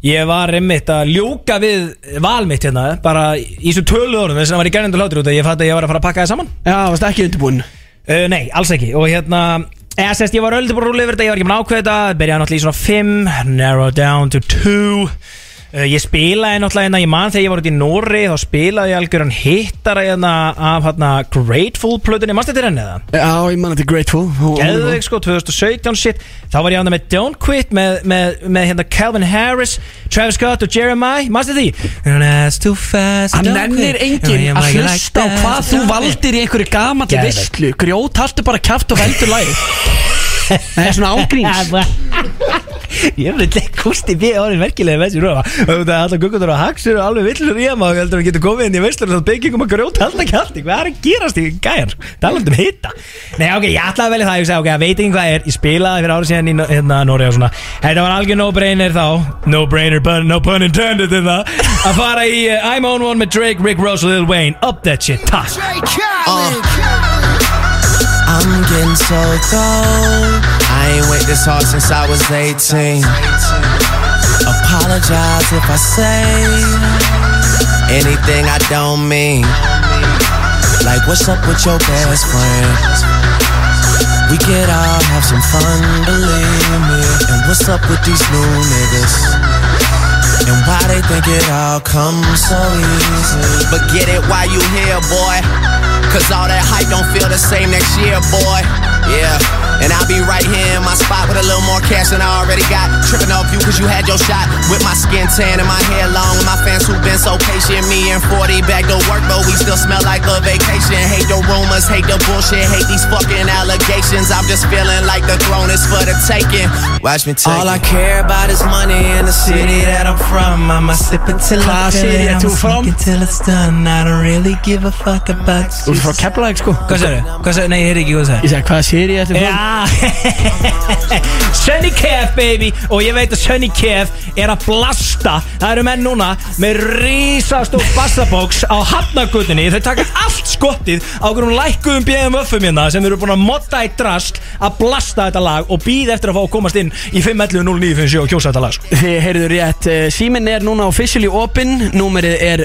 S4: ég var einmitt að ljúka við val mitt hérna Bara í þessu tölu orðum þess að það var í gernindu hlátur út að Ég fatt að ég var að fara að pakka það saman
S2: Já, varst ekki undirbúinn
S4: Uh, nei, alls ekki Og hérna eða, sest, Ég var öldur bara rúlega yfir þetta Ég var ekki með ákveða þetta Byrjaði náttúrulega í svona 5 Narrow down to 2 uh, Ég spilaði náttúrulega hérna Ég man þegar ég var út í Nóri Þá spilaði ég algjörn hittara hérna Af hérna Grateful plötunni Manstu þetta henni það?
S2: Já, ég man þetta Grateful Hún- hún er góð.
S4: Geðveik sko 2017 shit Þá var ég hérna með Don't Quit Með, með, með hérna Calvin Harris Travis Scott og Jeremiah Manstu því? Run as too fast
S2: Hann
S4: don't
S2: nennir
S4: quit.
S2: enginn
S4: Run
S2: að
S4: like
S2: hlusta á
S4: that,
S2: hvað þú
S4: don't quit.
S2: valdir í einhverju gamalli
S4: Geðveikt.
S2: visslu Grjót, haltu bara kæft og heldur [laughs] læg Það er svona ángríns
S4: [laughs] Ég vil ekki kústi við orðin verkilega með þessi röfa Það er alltaf guggundur og haksur og alveg villur í að maður heldur að geta komið inn í veislur og það byggingum að grjóta alltaf kjaldi Hvað er að gerast í gæjan? Talandi um hitta Nei ok, ég ætlaði að velja það, ég sagði ok, ég veit ekki hvað er Ég spilaði fyrir árið síðan í Nó- hérna, Nóri og svona Þetta var algjör no-brainer þá No-brainer, pun, no pun intended in það Að fara í uh, I'm on one með Drake, Rick Ross og Lil Wayne Up that shit, takk
S8: Uh, I'm getting so cold. I ain't went this hard since I was 18. Apologize if I say anything I don't mean. Like, what's up with your best friend? We could all have some fun, believe me. And what's up with these new niggas? And why they think it all comes so easy? But get it while you here, boy. Cause all that hype don't feel the same next year, boy. Yeah. And I'll be right here in my spot with a little more
S9: cash and I already got. Tripping off you cause you had your shot. With my skin tan and my hair long. With my fans who've been so patient. Me and 40 back to work, but we still smell like a vacation. Hate the rumors, hate the bullshit, hate these fucking allegations. I'm just feeling like the throne is for the taking. Watch me take
S8: All
S9: it.
S8: I care about is money and the city that I'm from. I'ma sip it till
S2: Hvað
S8: I feel
S2: segir
S8: it.
S2: þetta
S8: I'ma
S2: þú frá?
S8: smoke it till it's done. I don't really give a fuck about
S2: Þú
S8: you.
S2: ert frá Keflavík sko
S4: Hvað sagði? Hvað sagði? Nei, ég heyrði ekki
S2: Ég
S4: hvað sagði
S2: sagði, hvað segir ég þetta frá?
S4: Já [laughs] Sunny Kef baby Og ég veit að Sunny Kef er að blasta Það eru menn núna með risastór bastabóks á hafnagutinni Þau taka allt skottið á hverjum lækkuðum bjöðum öffum hérna sem þau eru búin að modda í drast að blasta þetta lag og býð eftir að fá að komast inn í 511-0957 og kjósa þetta lag sko.
S2: Þið heyrður rétt, eh, síminn er núna officially open Númerið er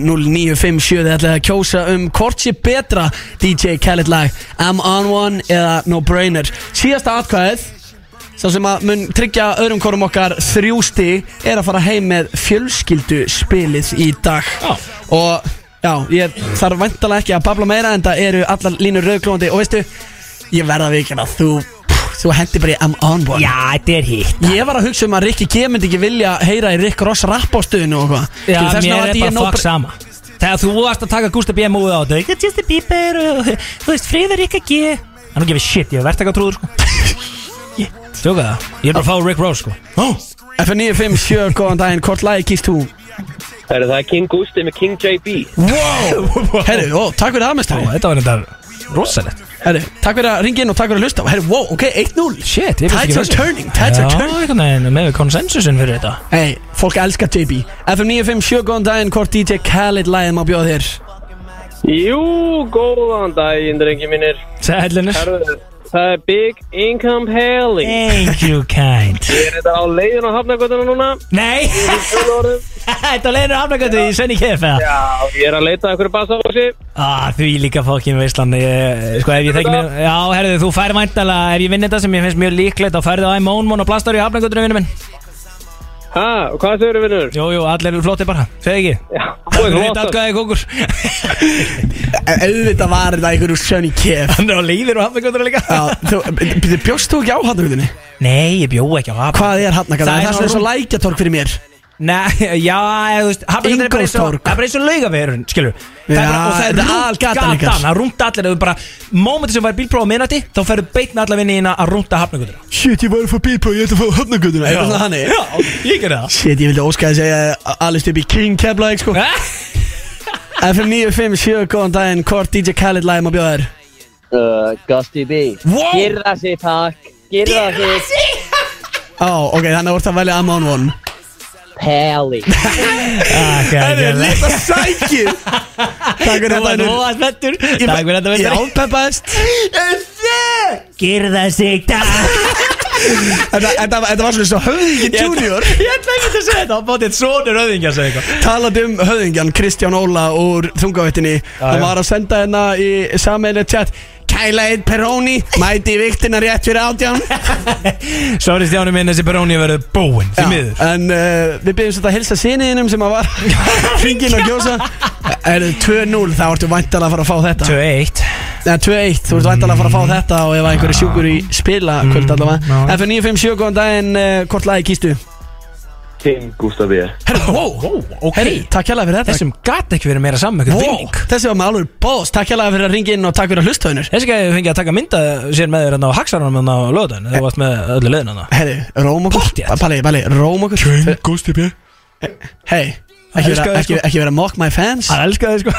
S2: 511-0957 Þið ætlaði að kjósa um hvort sé betra DJ Khaled lag I'm on one eða No Brainer Síðasta atkvæðið Sá sem að mun tryggja öðrum korum okkar þrjústi Er að fara heim með fjölskyldu spilið í dag
S4: Já.
S2: Og já, ég þarf væntalega ekki að babla meira En það eru allar línur rauðklóðandi Og veistu, ég verða að vikina Þú, þú hendi bara í I'm on one
S4: Já, þetta er hitt
S2: Ég var að hugsa um að Rikki G myndi ekki vilja heyra í Rick Ross rapp á stöðinu og eitthvað
S4: Já,
S2: Skilur, þess vegna
S4: mér er
S2: valdi ég
S4: bara
S2: No
S4: fuck
S2: Bra-
S4: sama Þegar þú varst að taka Gustaf B. múið á þetta Ég get Justin Bieber og uh, þú veist Friðrik að G Hann gefið shit, ég hef verðt ekki að trúður sko [laughs] Tjóka það, ég er bara að fá Rick Rose sko
S2: F957, góðan daginn, hvort lagi kýst þú?
S5: Herru, það er King Gusti með King JB
S2: Wow! Herru, ó, takk fyrir
S4: Ó,
S2: aðmestari
S4: Þetta var þetta rosalegt
S2: Herru, takk fyrir að ringa inn og takk fyrir að hlusta Herru, wow, ok, 1-0
S4: Shit, ég vissi ekki
S2: Tides are
S4: fyrir
S2: turning, tides are
S4: Já,
S2: turning
S4: einhvern veginn með konsensusin fyrir þetta
S2: Hey, fólk elskar JB F957, góðan daginn, hvort DJ Khaled lagið má bjóða þér?
S5: Jú, góðan daginn, drengi mínir
S4: Sæðlinus
S5: Herru, það er Big Income Haley
S4: Thank you kind
S5: Ég er þetta á leiðin á Hafnagötuna núna
S4: Nei, [laughs]
S5: Fjólorðum.
S4: þetta leiðir afnægandi í Sunny KF eða?
S5: Já, ég er að leita að einhverju basafósi
S4: Ah, því líka fokkin veislan ég, Sko ef ég þekki mér Já, herðu, þú fær væntalega Ef ég vinn þetta sem ég finnst mjög líklegt Þá færðu á M-Onmon og Plastar í hafnagötunum vinnum minn
S5: Ha, og hvað segir þau vinnur?
S4: Jú, jú, allir eru flottir bara Segð ekki
S5: Já, þú er
S4: Rétt
S5: glótast
S4: atkvæði kókur [laughs]
S2: Auðvitað var þetta einhverju Sunny Kef
S4: Hann er á leiðir og hafnagötunum líka
S2: Já, þú, byrju, bjóst þú ekki á hafnagötunni?
S4: Nei, ég bjó ekki á hafnagötunum
S2: Hvað er hafnagötunni?
S4: Það
S2: Það
S4: er
S2: er svona
S4: svo-
S2: eins og lækjatorg fyrir mér
S4: Nei, já, eða, þú veist Hafnagötunum er bara eins og
S2: Ingólfstorg.
S4: Það er bara eins og laugaveðurinn, skilur Það
S2: Já,
S4: er bara, og það
S2: þetta er
S4: er rúmt
S2: algatan
S4: gatan,
S2: ykkar.
S4: Það rúmt allir Ef þú bara Mómenti sem var bílpróf á minnati Þá ferðu beitna alla vinni að rúmta hafnagötunum
S2: Shit, ég var að fá bílpróf, ég ætla að fá hafnagötuna Eitthvað svona hannig
S4: Já, ég gerði það
S2: Shit, ég vildi óskæði segja að alist upp í King Keflavík sko FM 957, góðan daginn, hvort DJ Khaled lagið má bjóða þér?
S5: Uh, Gusti B
S4: Wow.
S5: Gerða sig, takk Gerða sig,
S2: Á, ok, þannig að voru það að velja I'm on one
S5: Peli
S4: Það er
S2: litla sækir Takk fyrir þetta
S4: Þú
S2: Unnur.
S4: var smettur Takk fyrir þetta
S2: Ég
S4: Vinnur
S2: ápeppaðist
S4: Girða sig takk
S2: Þetta þetta var þetta var svona eins og höfðingin junior
S4: [laughs] Ég ætla ekki að segja þetta Það bótið sonur öðingi að segja eitthvað
S2: Talandi um höfðingjan Kristján Óla úr þungavittinni Hann
S4: já.
S2: var að senda hérna í sammeinu tjátt Kæla eitt peróni, mæti í viktina rétt fyrir átján
S4: Sorry Stjáni minn Þessi peróni verður búinn Því
S2: Já,
S4: miður
S2: En uh, við byggjum svolítið að hilsa síniðinum sem
S4: [laughs]
S2: að var Ringin og gjósa Er þið 2-0 þá ertu væntalega að fara að fá þetta
S4: 2-1
S2: Nei, 2-1, þú ert væntalega að fara að
S4: Mm.
S2: fá þetta og ef að einhverju sjúkur í spila kvöld allavega
S4: já.
S2: F957, góðan daginn, uh, hvort lagi kýstu?
S5: King Gustafi
S2: Herru, wow,
S4: ok.
S2: Herru, takk hérlega fyrir þetta
S4: Þessum gat ekki verið meira saman Ekkur vinning
S2: Þessi var með alveg bóðs, takk hérlega fyrir að ringa inn og takk fyrir að hlusta hennur
S4: Þessi gæði fengið að taka mynda sér með þér hérna á Haxaranum hérna á löðan Þú varst með öllu löðin hérna
S2: Herru, róm okkur
S4: Pottþétt.
S2: Palli, palli, róm okkur
S4: Gusti B
S2: Hei, ekki
S4: Elska
S2: vera,
S4: þig,
S2: ekki,
S4: sko.
S2: ekki vera mock my fans
S4: Hann elskaði sko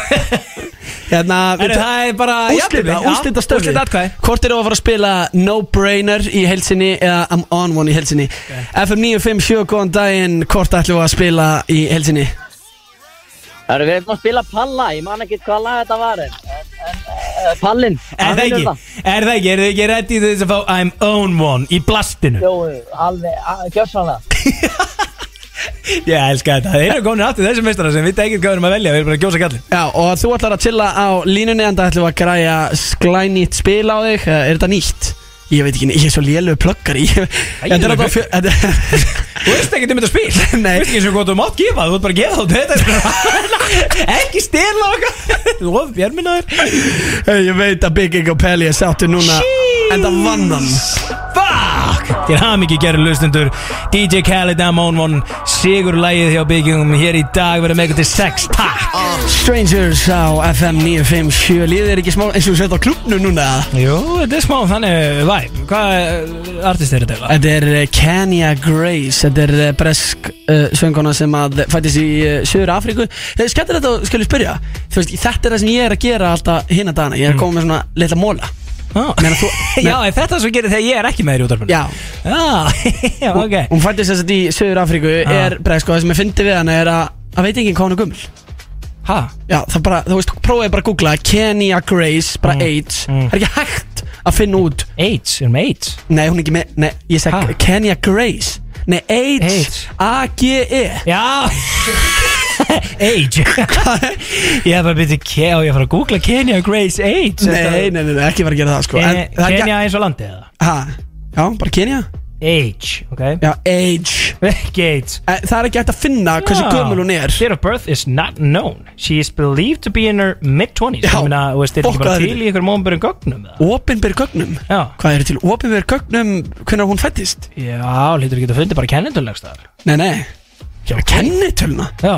S2: Hérna, við
S4: Herru,
S2: tö-
S4: það er bara
S2: Úslita,
S4: jafntefli. Já,
S2: úslita stöfi
S4: úrslita atkvæði.
S2: Hvort eru að fara að spila No Brainer í helsinni eða I'm On One í helsinni FM 957, góðan daginn Hvort ætlum við að spila í helsinni
S5: Herru, við erum að spila Palla Ég man ekki hvað lag þetta var en, en, en, eh, Pallinn
S4: Er
S5: hann
S4: það
S5: vinnur
S4: ekki, er það ekki, er þið ekki ready til þess að fá I'm own one í blastinu?
S5: Jó, alveg, gjössanlega
S4: Ég elska þetta, þeir eru komin aftur þessum meistara sem við ekkert hvað við erum að velja, við erum bara að gjósa kallin
S2: Já, og þú ætlar að chilla á línunni en það ætlum við að græja sklænýtt spil á þig Eh, Er þetta nýtt? Ég veit ekki, ég er svo lélög plöggar í Þetta er alltaf fjö- þetta-
S4: Þú veist ekki um þetta spil, þú
S2: Nei.
S4: veist ekki eins og hvað þú mátt gefa, þú ert bara að gefa þá þetta er bara- Ekki stela okkar, þú of björminnaður [laughs]
S2: Ég veit að Big Ego Pelli er sáttu núna En það vann hann
S4: Fuck, Til hamingi gerir lustundur DJ Khaled Amon Von Sigur lægið hjá Byggingum Hér í dag verður með eitthvað til 6 Takk
S2: Strangers á FM 957 Líðið er ekki smá eins og við setja á klubnu núna
S4: Jú, þetta er smá þannig væp Hvað eh, artist er þetta? eiginlega?
S2: Þetta er eh, Kenya Grace Þetta er eh, bresk uh, söngona sem að fættist í uh, Söður Afríku Þetta er skemmtilegt að skilja spyrja Þú veist, Þetta er það sem ég er að gera alltaf hinn að dana Ég er að koma með svona litla móla
S4: Á.
S2: Meina þú-
S4: Já, er þetta svo gerir þegar ég er ekki með þér í útvarpinu
S2: Já,
S4: Já, ok
S2: hún fættist þess að í Söður Afríku er bresk og það sem ég fyndi við hana er að að veit ekki hvað hún er gummul
S4: Ha?
S2: Já, það bara, þú veist, prófaði bara að googla Kenya Grace, bara AIDS Það er ekki hægt að finna út
S4: AIDS, erum AIDS
S2: Nei, hún er ekki með, nei, ég
S4: Ha?
S2: seg Kenya Grace Nei, AIDS,
S4: AIDS.
S2: [laughs] A-G-E
S4: Já Age Ég hef bara byrja Kea og ég fara að googla Kenya Grace Age
S2: Nei, nei, nei, nei, ekki vera að gera það, sko
S4: Kenya,
S2: það er
S4: Kenya eins og landið eða
S2: ekki- Ha, já, bara Kenya
S4: Age, ok
S2: Já, age
S4: [laughs] Ekki AIDS
S2: Eh, Það er ekki hægt að finna hversu
S4: Já.
S2: gömul hún er
S4: Date of birth is not known She is believed to be in her mid-twenties
S2: Já,
S4: Ég meina, þú veist, þetta er
S2: fokk
S4: ekki bara
S2: að
S4: til
S2: þetta.
S4: í ykkur mómbur en gögnum eða
S2: Opinber gögnum
S4: Já.
S2: Hvað eru til opinber gögnum Hvernig hún fættist?
S4: Já, hlýtur ekki að fundi bara kennindulegst þar
S2: Nei, nei,
S4: Já,
S2: kennitölna
S4: Já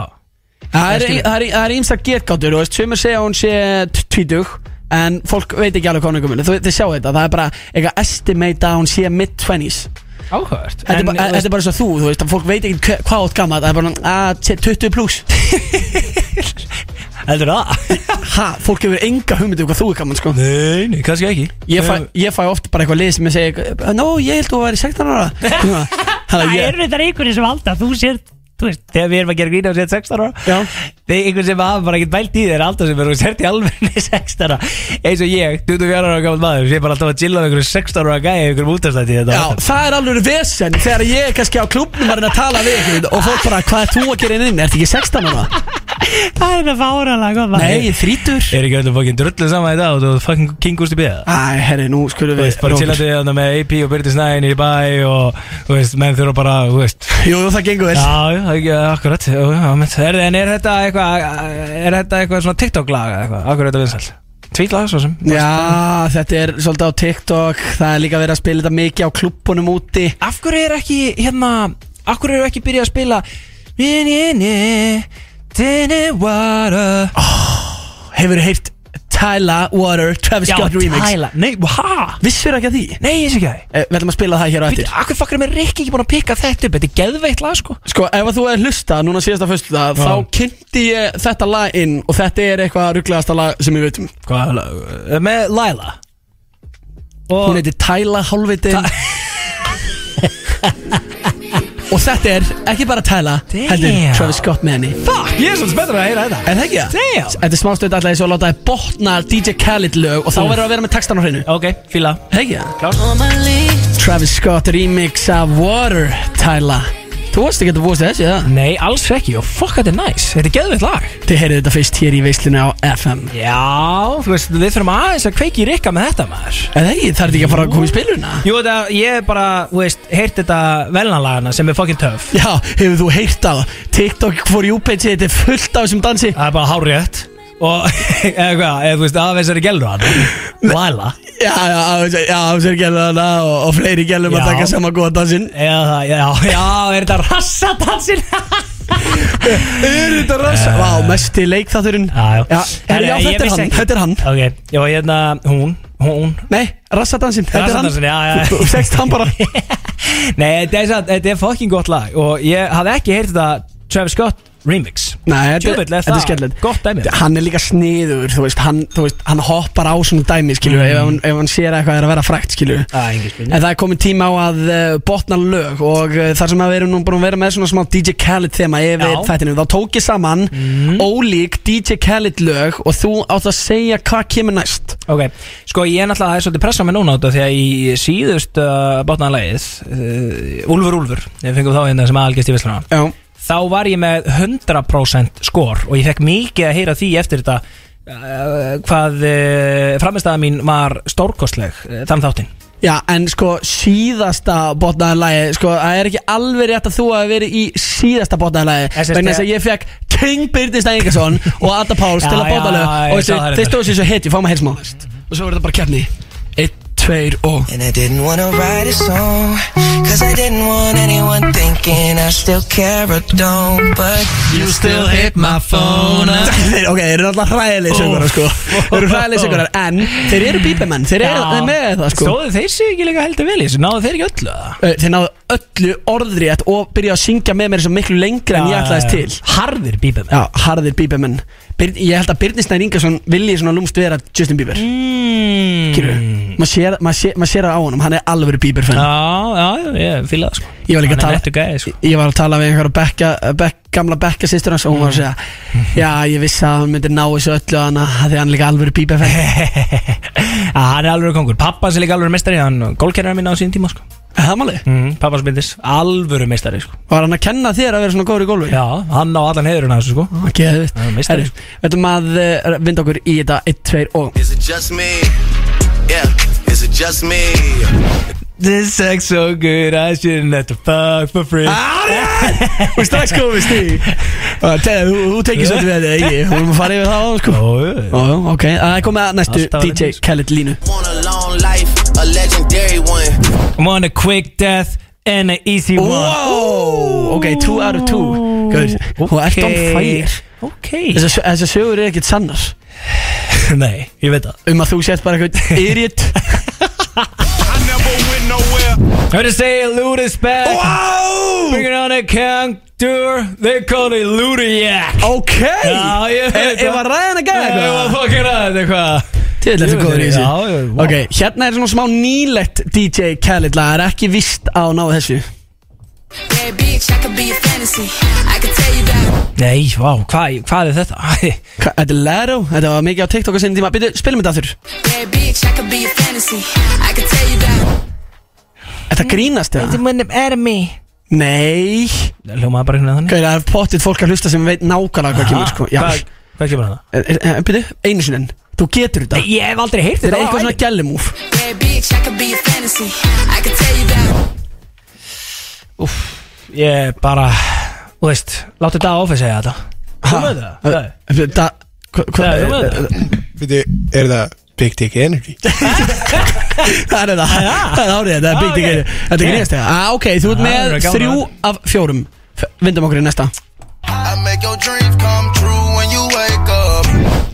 S2: Það
S4: skil
S2: er- það er- það er ímsta getgátur og veist, sömur segja að hún sé t- tvítug en fólk veit ekki alveg hvað hún er komin þú, þið sjá þetta, það er bara eitthvað estimate að hún sé mid-20s
S4: Áhört
S2: þetta, er bara- eh, þetta er bara eins og þú, þú veist, að fólk veit ekki hve- hvað átt gammal, það er bara "Ah, að, sé 20
S4: [laughs]
S2: pluss
S4: Heldur það?
S2: ha, fólk hefur enga hugmyndu hvað þú er gammal sko.
S4: Nei, nei, kannski ekki
S2: ég, fæ, ég fæ oft bara eitthvað lið sem ég segi no, ég held þú að vera 16
S4: [laughs]
S2: ára Svona. Þannig að
S4: Það
S2: ég-
S4: eru þetta einhverjir sem halda að Þú sér, þú veist, þegar við erum að gera grína og sér 16 ára
S2: Já.
S4: Þeir einhver sem hafa bara ekkert bælt í þeir Alltaf sem eru sért í [laughs] alvegni 16 ára Eins og ég, 24 ára gammal maður Ég er bara alltaf að chilla með einhverjum 16 ára gæði Einhverjum útastætti þetta
S2: Já, það er alveg vesen þegar ég er kannski á klubnum að reyna að tala við ykkur og fólk bara, hvað er þú að gera inn inn, ertu ekki 16 ára?
S4: það er það fáralega gott
S2: Nei, ég er 30
S4: Er ekki öllum fokkin drullu saman í dag og þú fucking kingust í beða
S2: Æ, herri, nú skulum
S4: Þú
S2: við
S4: veist, bara
S2: Róbert.
S4: chillandi þarna með AP og Byrti Snæin í bæ og, þú veist, menn þurfa bara, þú veist
S2: Jú, jú, það gengur vel
S4: Já, já, ekki, akkurat já, já, einmitt. er, En er þetta eitthvað Er þetta eitthvað svona TikTok-lag eða eitthvað? Akkur er þetta vinsælt? Tweet-lag svo sem
S2: Já, þetta er svolítið á TikTok Það er líka verið að spila þetta mikið á klubunum úti
S4: Af hverju er ekki, hérna Af hverju er ekki byrjað að spila Vinni Dinni water
S2: Hefur heyrt Tyla, Water, Travis Scott remix
S4: Tyla. Nei, hæ?
S2: Vissur ekki að því?
S4: Nei, ég sé ekki að það
S2: Eh, Við ætlum að spila það hér á
S4: Býttu,
S2: eftir
S4: Akkur fokkar með Rikki ekki búin að pikka þetta upp Þetta er geðveitt lag, sko
S2: Sko, ef að þú er hlusta núna síðasta fyrstu það
S4: Já.
S2: Þá kynnti ég þetta lag inn Og þetta er eitthvað rugglegasta lag sem ég veitum
S4: Hvað, eh, með Laila Og
S2: Hún heitir Tyla Hálfitin [laughs] Og þetta er ekki bara Tyla
S4: Damn.
S2: Heldur Travis Scott með henni
S4: Fuck, ég er svolítið spenntur að heyra þetta
S2: Er það ekki það?
S4: Damn.
S2: Þetta er smástönd alltaf eins og að láta þið botna DJ Khaled lög og þá
S4: Mm.
S2: verður að vera með textan á hreinu
S4: Ok, fíla
S2: Er það ekki það? Travis Scott remix af Water, Tyla Þú varst ekki að búast til þessu, það?
S4: Nei, alls ekki og fuck þetta er næs Þetta er geðveitt lag
S2: Þið heyrið þetta fyrst hér í veislunni á FM
S4: Já, þú veist, við þurfum aðeins að kveiki í rikka með þetta maður
S2: Er það ekki? Það er ekki að fara að koma í spiluna?
S4: Jú, þetta, ég er bara, þú veist, heyrt þetta velnalagana sem er fucking töff
S2: Já, hefur þú heyrt á TikTok for you page, þetta er fullt af þessum dansi
S4: Það er bara hárjött Og, [laughs] eða hvað, eða þú veist, af þessari gælur hann Laila
S2: Já, já, já, já, sér gælum þarna og, og fleiri gælum að
S4: Já.
S2: taka sama góða dansin
S4: Eða það, já, já, er þetta rassatansin
S2: Er þetta rasa? Eh, Vá, mesti leikþátturinn
S4: Já, já,
S2: Já, herri, já,
S4: Ég
S2: þetta er
S4: vissi
S2: hann,
S4: ekki.
S2: þetta er hann
S4: Ok, já, hérna, hún, hún
S2: Nei, rassadansinn, þetta er hann
S4: Rassadansinn, já, já.
S2: Þú- Þú
S4: [laughs]
S2: segst hann bara
S4: Nei, þetta er, satt- þetta er fucking gott lag Og ég hafði ekki heyrt þetta Travis Scott remix
S2: Nei, þetta,
S4: Tjöfull, er
S2: þetta
S4: það
S2: er skemmtilegt
S4: gott dæmi.
S2: Hann er líka sniður, þú veist Hann, þú veist, hann hoppar á svona dæmi, skilju
S4: Mm.
S2: ef, hann, ef hann sér að eitthvað er að vera frækt, skilju
S4: Það er engin spurning.
S2: En það er komin tíma á að uh, botna lög Og uh, þar sem að við erum nú búin að vera með svona smá DJ Khaled þema yfir
S4: Já. Mm.
S2: þættinu Þá tók ég saman ólík DJ Khaled lög Og þú átt að segja hvað kemur næst
S4: Ok, sko ég er náttúrulega það er svolítið pressa með núna á þetta því að í síðust uh, bátnaðanlægið uh, Úlfur Úlfur, við fengum þá hérna sem aðalgest í Veslana
S2: Já,
S4: þá var ég með 100% skor og ég fekk mikið að heyra því eftir þetta uh, hvað uh, framistæða mín var stórkostleg uh, þann þáttinn
S2: Já, en sko síðasta botnaði lagi Sko, það er ekki alveg rétt að þú hafi verið í síðasta botnaði lagi
S4: SST.
S2: Vegna þess að ég fekk King Byrnist Engason og Adda Páls
S4: [laughs] Já,
S2: til að
S4: já,
S2: botna
S4: já,
S2: lög Og
S4: ég sá það
S2: þessi-
S4: reyndar.
S2: þeir stóðu sér svo hit, ég fá maður heilsmálist Og svo verður þetta bara keppni 1, 2, tveir og
S8: And I didn't wanna write a song Cause I didn't want anyone thinking I still care or don't But you still hit my phone up
S2: Þeir, [laughs] ok, þeir eru alltaf hræðileg söngurar sko Þeir eru hræðileg söngurar En þeir eru bíbimenn Þeir eru þeir með það sko
S4: Stóðu þeir sig ekki líka heldur vel í þessu Náðu þeir ekki öllu það
S2: Eh, Þeir náðu öllu orðrétt og byrjuðu að syngja með mér svo miklu lengra en ég ætlaðist til
S4: Harðir bíbum
S2: Já, harðir bíbimenn Byr, Ég held að Byrnisnær Ingarsson vilji svona lúmst vera Justin Bieber mm. Maður sér, maður sér, maður sér það á honum, hann er alvöru Bieber fenn
S4: Mm. Já, já, ég fýla það sko
S2: Ég var líka að
S4: Hann
S2: tala
S4: er nettu gæði sko
S2: Ég var að tala við einhverja bekka, bekk, gamla bekka sýstur hans og hún var að segja Já, ég vissi að hann myndi ná þessu öllu hann Þegar hann er líka alvöru bíbefenn
S4: Já, hann er alveg kongur Pappas er líka alveg mestari Hann gólkerrar minna á sín tíma sko
S2: Það er máli
S4: mm, Pappas myndis Alvöru mestari sko
S2: Var hann að kenna þér að vera svona góður í gólfi?
S4: Já, hann á allan heiðurinn að þessu sko
S2: Geðvitt
S4: Já, meistari.
S2: Herru, veitum að uh, vinda okkur í þetta 1, 2 og
S7: Is it just me? Yeah, is it just me?
S4: This sex so good I shouldn't have to fuck for free
S2: Og strax komist
S4: [laughs]
S2: í Þegar þú, þú tekið svolítið við þetta ekki Þú erum að fara yfir það á sko Ó,
S4: Ó,
S2: jú, ok, Eh, það er komið að næstu
S4: Alltaf verið
S2: DJ
S4: eins.
S2: Khaled línu
S7: Want a long life, a legendary one.
S4: I'm on a quick death And an easy one
S2: Wow, ok, 2 out of 2 Gauður, þú ert on fire
S4: Ok
S2: Þessar þessa sögur eru ekkert sannar
S4: Nei, ég veit það
S2: Um að þú sett bara
S4: [laughs]
S2: eitthvað yriðt
S4: Heard to say loot is back
S2: Wow,
S4: Bringing on a counter They call it Ludiac
S2: ok
S4: Já, ég veit
S2: Ef-
S4: það.
S2: ef var ræðan að gæða
S4: Ég var
S2: eitthvað
S4: fucking ræðin eitthvað
S2: Til þetta
S4: Ég
S2: góður í
S4: veit það, já, já,
S2: þessu
S4: vá.
S2: Ok, hérna er svona smá nýlegt DJ Khaled lag Það er ekki vist á að ná þessu
S4: Nei, vá, hvað, hvað er þetta? Æ,
S2: Hva- Þetta er Lero, þetta var mikið á TikTok á sinni tíma Býtu, spilum þetta aftur Þetta grínast eða? Nei
S4: Ljómaði bara hérna þannig
S2: Hvað er það er pottitt fólk að hlusta sem veit nákvæmlega hvað kemur sko Já
S4: Hvað, hvað kemur hann það?
S2: Býtu, einu sinni enn. Þú getur þetta
S4: Ég hef aldrei heyrt
S2: Þetta er
S4: þetta
S2: eitthvað svona gælumúf
S4: Ég bara, þú veist, láttu þetta áfið segja þetta Þú með
S2: Ah,
S4: það? Nei.
S2: eh, Það
S4: Nei, þú með
S2: Hvað
S4: það?
S10: Er það Big Dick Energy?
S2: [laughs] Það er það, það er árið, þetta er byggt ekki Þetta er grínast eða? Ah, ok, þú ert
S4: Ah, það
S2: með
S4: er gaman.
S2: þrjú af fjórum F- Vindum okkur í næsta
S7: I make your dreams come true when you wake up.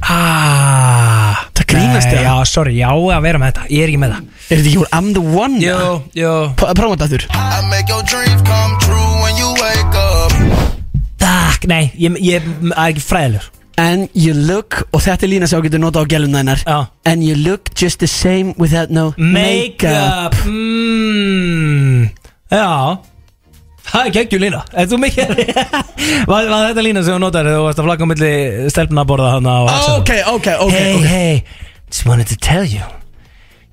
S4: Ah,
S2: Það grínast
S4: nei,
S2: eða?
S4: Já, sorry, já að vera með þetta, ég er ekki með það
S2: Er þetta ekki úr I'm the one?
S4: jú
S2: P- Prófa þetta aftur
S7: I make your dreams come true when you wake up.
S4: Takk, nei, ég, ég það er ekki fræðilegur
S2: And you look, og þetta er lína sem þú getur notað á gæluna hennar
S4: Já.
S2: And you look just the same without no makeup
S4: Make-up mm, Já Það er geggjur lína Er þú mikil?
S2: [laughs]
S4: var, var þetta lína sem þú notar þegar Þú varst að flakka á milli stelpna að borða hana á
S2: Ah,
S4: Axel?
S2: Ok, ok, ok,
S4: Hey,
S2: ok
S4: hey Just wanted to tell you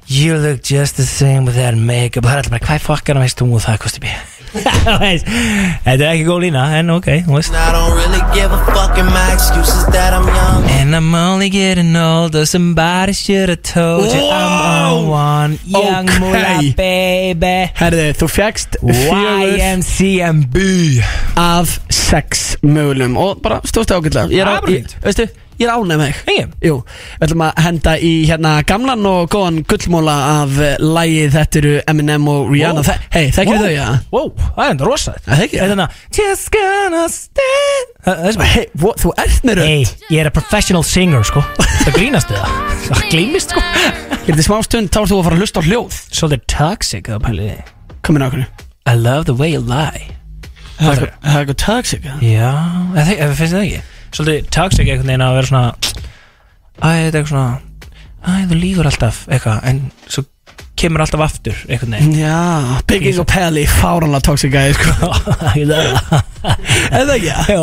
S4: You look just the same with that makeup Það er alltaf bara hvað fokkana veist þú og það kosti [laughs] mér Þetta er ekki góð lína En ok, þú veist
S7: And I don't really give a fuck, and my excuse is that I'm young.
S4: And I'm only getting older Somebody should have told you I'm on
S2: Wow.
S4: one Young
S2: Ok.
S4: moolah baby
S2: Herði, þú fegst fjögur
S4: YMCMB
S2: af sex mögulegum Og bara stóðst það ágætlega Ég er á,
S4: Það er bara
S2: ég,
S4: fínt.
S2: veistu, ég er ánægð með þig
S4: Engin
S2: Jú, við ætlum að henda í hérna gamlan og góðan gullmóla af uh, lægið Þetta eru Eminem og Rihanna
S4: Wow.
S2: wow. Hei, þekkir wow. þau, já?
S4: Wow, það er enda rosa
S2: Það er ekki.
S4: Þetta er þarna, Just gonna stand Það það er sem
S2: Hei, vo- þú ert með rödd
S4: Hey, ég er a professional singer sko Það grínast þið það Það glýmist sko
S2: Ég er til smá stund, þá ert þú að fara að hlusta á hljóð
S4: Svolítið toxic það pæli
S2: Komin á okkur
S4: I love the way you lie
S2: Það er eitthvað- það er eitthvað toxic eða?
S4: Já, eða þi- eða finnst þið það ekki Svolítið toxic einhvern veginn að vera svona Æ, þetta er eitthvað svona Æ, þú lífur alltaf eitthvað En svo kemur alltaf aftur einhvern veginn
S2: Já, Bigging og Pelly, fáranlega toxic gæði sko.
S4: [laughs] Ég það
S2: Eða ekki, já.
S4: Já,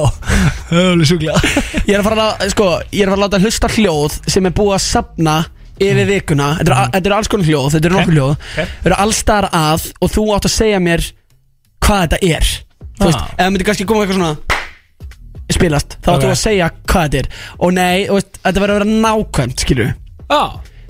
S4: það er alveg sjúklega
S2: ég er að fara að, sko, ég er að fara að láta hlusta hljóð sem er búið að sapna
S4: Mm.
S2: yfir vikuna Þetta eru- þetta eru alls konar hljóð, þetta eru nokkur hljóð Þetta eru alls staðar að og þú átt að segja mér hvað þetta er Þú
S4: Ah.
S2: veist, ef það myndi kannski koma eitthvað svona spilast, þá átt
S4: Ok.
S2: þú að segja hvað þetta er Og nei, þú veist, þetta verður að vera nákvæmt, skilju
S4: Já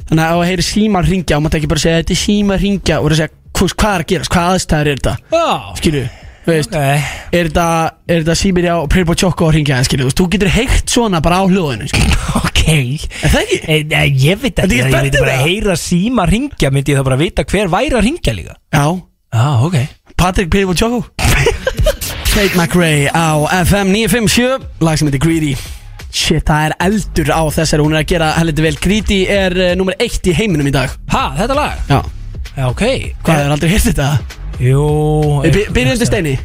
S2: Þannig að ef það heyri símar ringja og maður ekki bara segja þetta er símar ringja og verður að segja "Hvers- hvað er að gerast, hvað aðstæður er þetta
S4: Já
S2: Skilju, Þú veist, er þetta, er þetta Sibirja og Pyrbo Choco að ringja það, skilju, þú veist, þú getur heyrt svona bara á hljóðinu, skilju.
S4: Ok Er
S2: það ekki?
S4: E, e, ég veit
S2: Þetta
S4: ekki,
S2: er
S4: ég
S2: ekki
S4: myndi
S2: betur
S4: bara
S2: það.
S4: heyra síma ringja myndi ég þá bara vita hver væri að ringja líka
S2: Já.
S4: ah, ok
S2: Patrick Pyrbo Choco. Kate McRae á FM 957, lag sem heitir Greedy. Shit, það er eldur á þessari, hún er að gera heldur vel. Greedy er uh, nummer eitt í heiminum í dag.
S4: Ha, þetta lag?
S2: Já.
S4: Já, ok
S2: Hvað, það er aldrei heyrt þetta?
S4: Jú
S2: By- Byrjum við steini.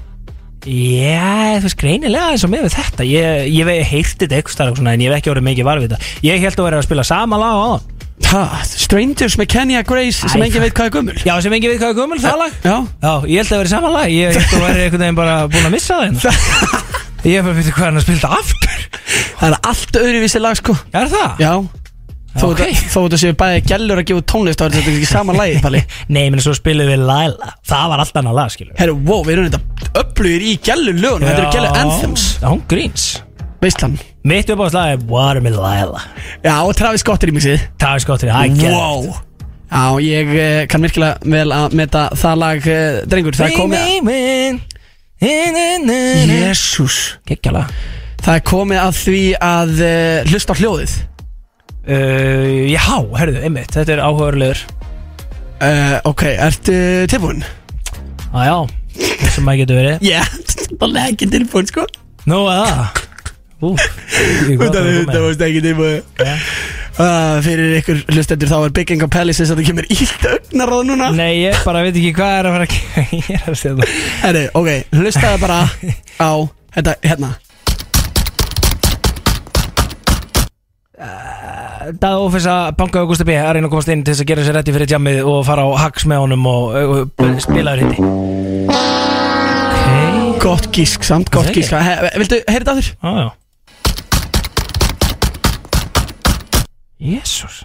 S4: Já, þú veist greinilega eins og með við þetta Ég, ég vei heyrti þetta eitthvað starf svona, En ég hef ekki orðið mikið varfið þetta Ég held að vera að spila sama lag á hann
S2: Ha, Strangers með Kenya Grace sem
S4: Æ,
S2: engin veit hvað er gömul.
S4: Já, sem engin veit hvað er gömul það lag
S2: Já.
S4: Já, ég held að vera sama lag Ég held að vera einhvern veginn bara búin að missa það [laughs] hérna. Ég hef bara veit hvað er hann að spila þetta aftur
S2: Það er allt öðruvísi lag, sko.
S4: Er það?
S2: Já Þó
S4: Ok.
S2: okay. þó þetta séu bæði gælur að gefa út tónlist þá er þetta ekki sama lagi, [laughs] Palli
S4: Nei, menn svo spilum við Laila Það var allt annað lag, skilur
S2: Herru, wow, við erum þetta öflugir í gælur lögunum Þetta eru gælur anthems
S4: Já, hún gríns
S2: Veistlan
S4: Mitt upp á slag er Watermelon Laila
S2: Já, og Travis Scott er í mixið
S4: Travis Scott er hægjað
S2: Wow Já, ég eh, kann virkilega vel að meta það lag eh, Drengur, það er komið að
S4: komið
S2: Jésús
S4: Kekjala
S2: Það er komið að því að uh, hlusta á hljóðið
S4: uh, Já, herðu, einmitt, þetta er áhugaverlegur
S2: uh, Ok, ertu tilbúin?
S4: ah, Já, sem maður getur verið
S2: Já, [laughs] það er ekki tilbúin, sko
S4: Nú að það Ú, ég
S2: Þetta
S4: gott að
S2: þetta
S4: koma
S2: varst ekki tilbúin Ah, Fyrir ykkur hlustendur þá er Big Gang Pelli sem þetta kemur ílt augnar á það núna
S4: Nei, ég bara veit ekki hvað er að fara að gera [laughs] þetta
S2: Herri, ok, hlustaðu bara á Þetta, hérna
S4: Dað Ófessa bankaði Augusta B að reyna að komast inn til þess að gera sér rétti fyrir jammið og fara á hacks með honum og, og, og spilaður hindi Ok
S2: Gott gísk samt, gott
S4: Það er
S2: gísk He, Viltu, heyrðu þetta aftur?
S4: ah, já [laughs] Jésús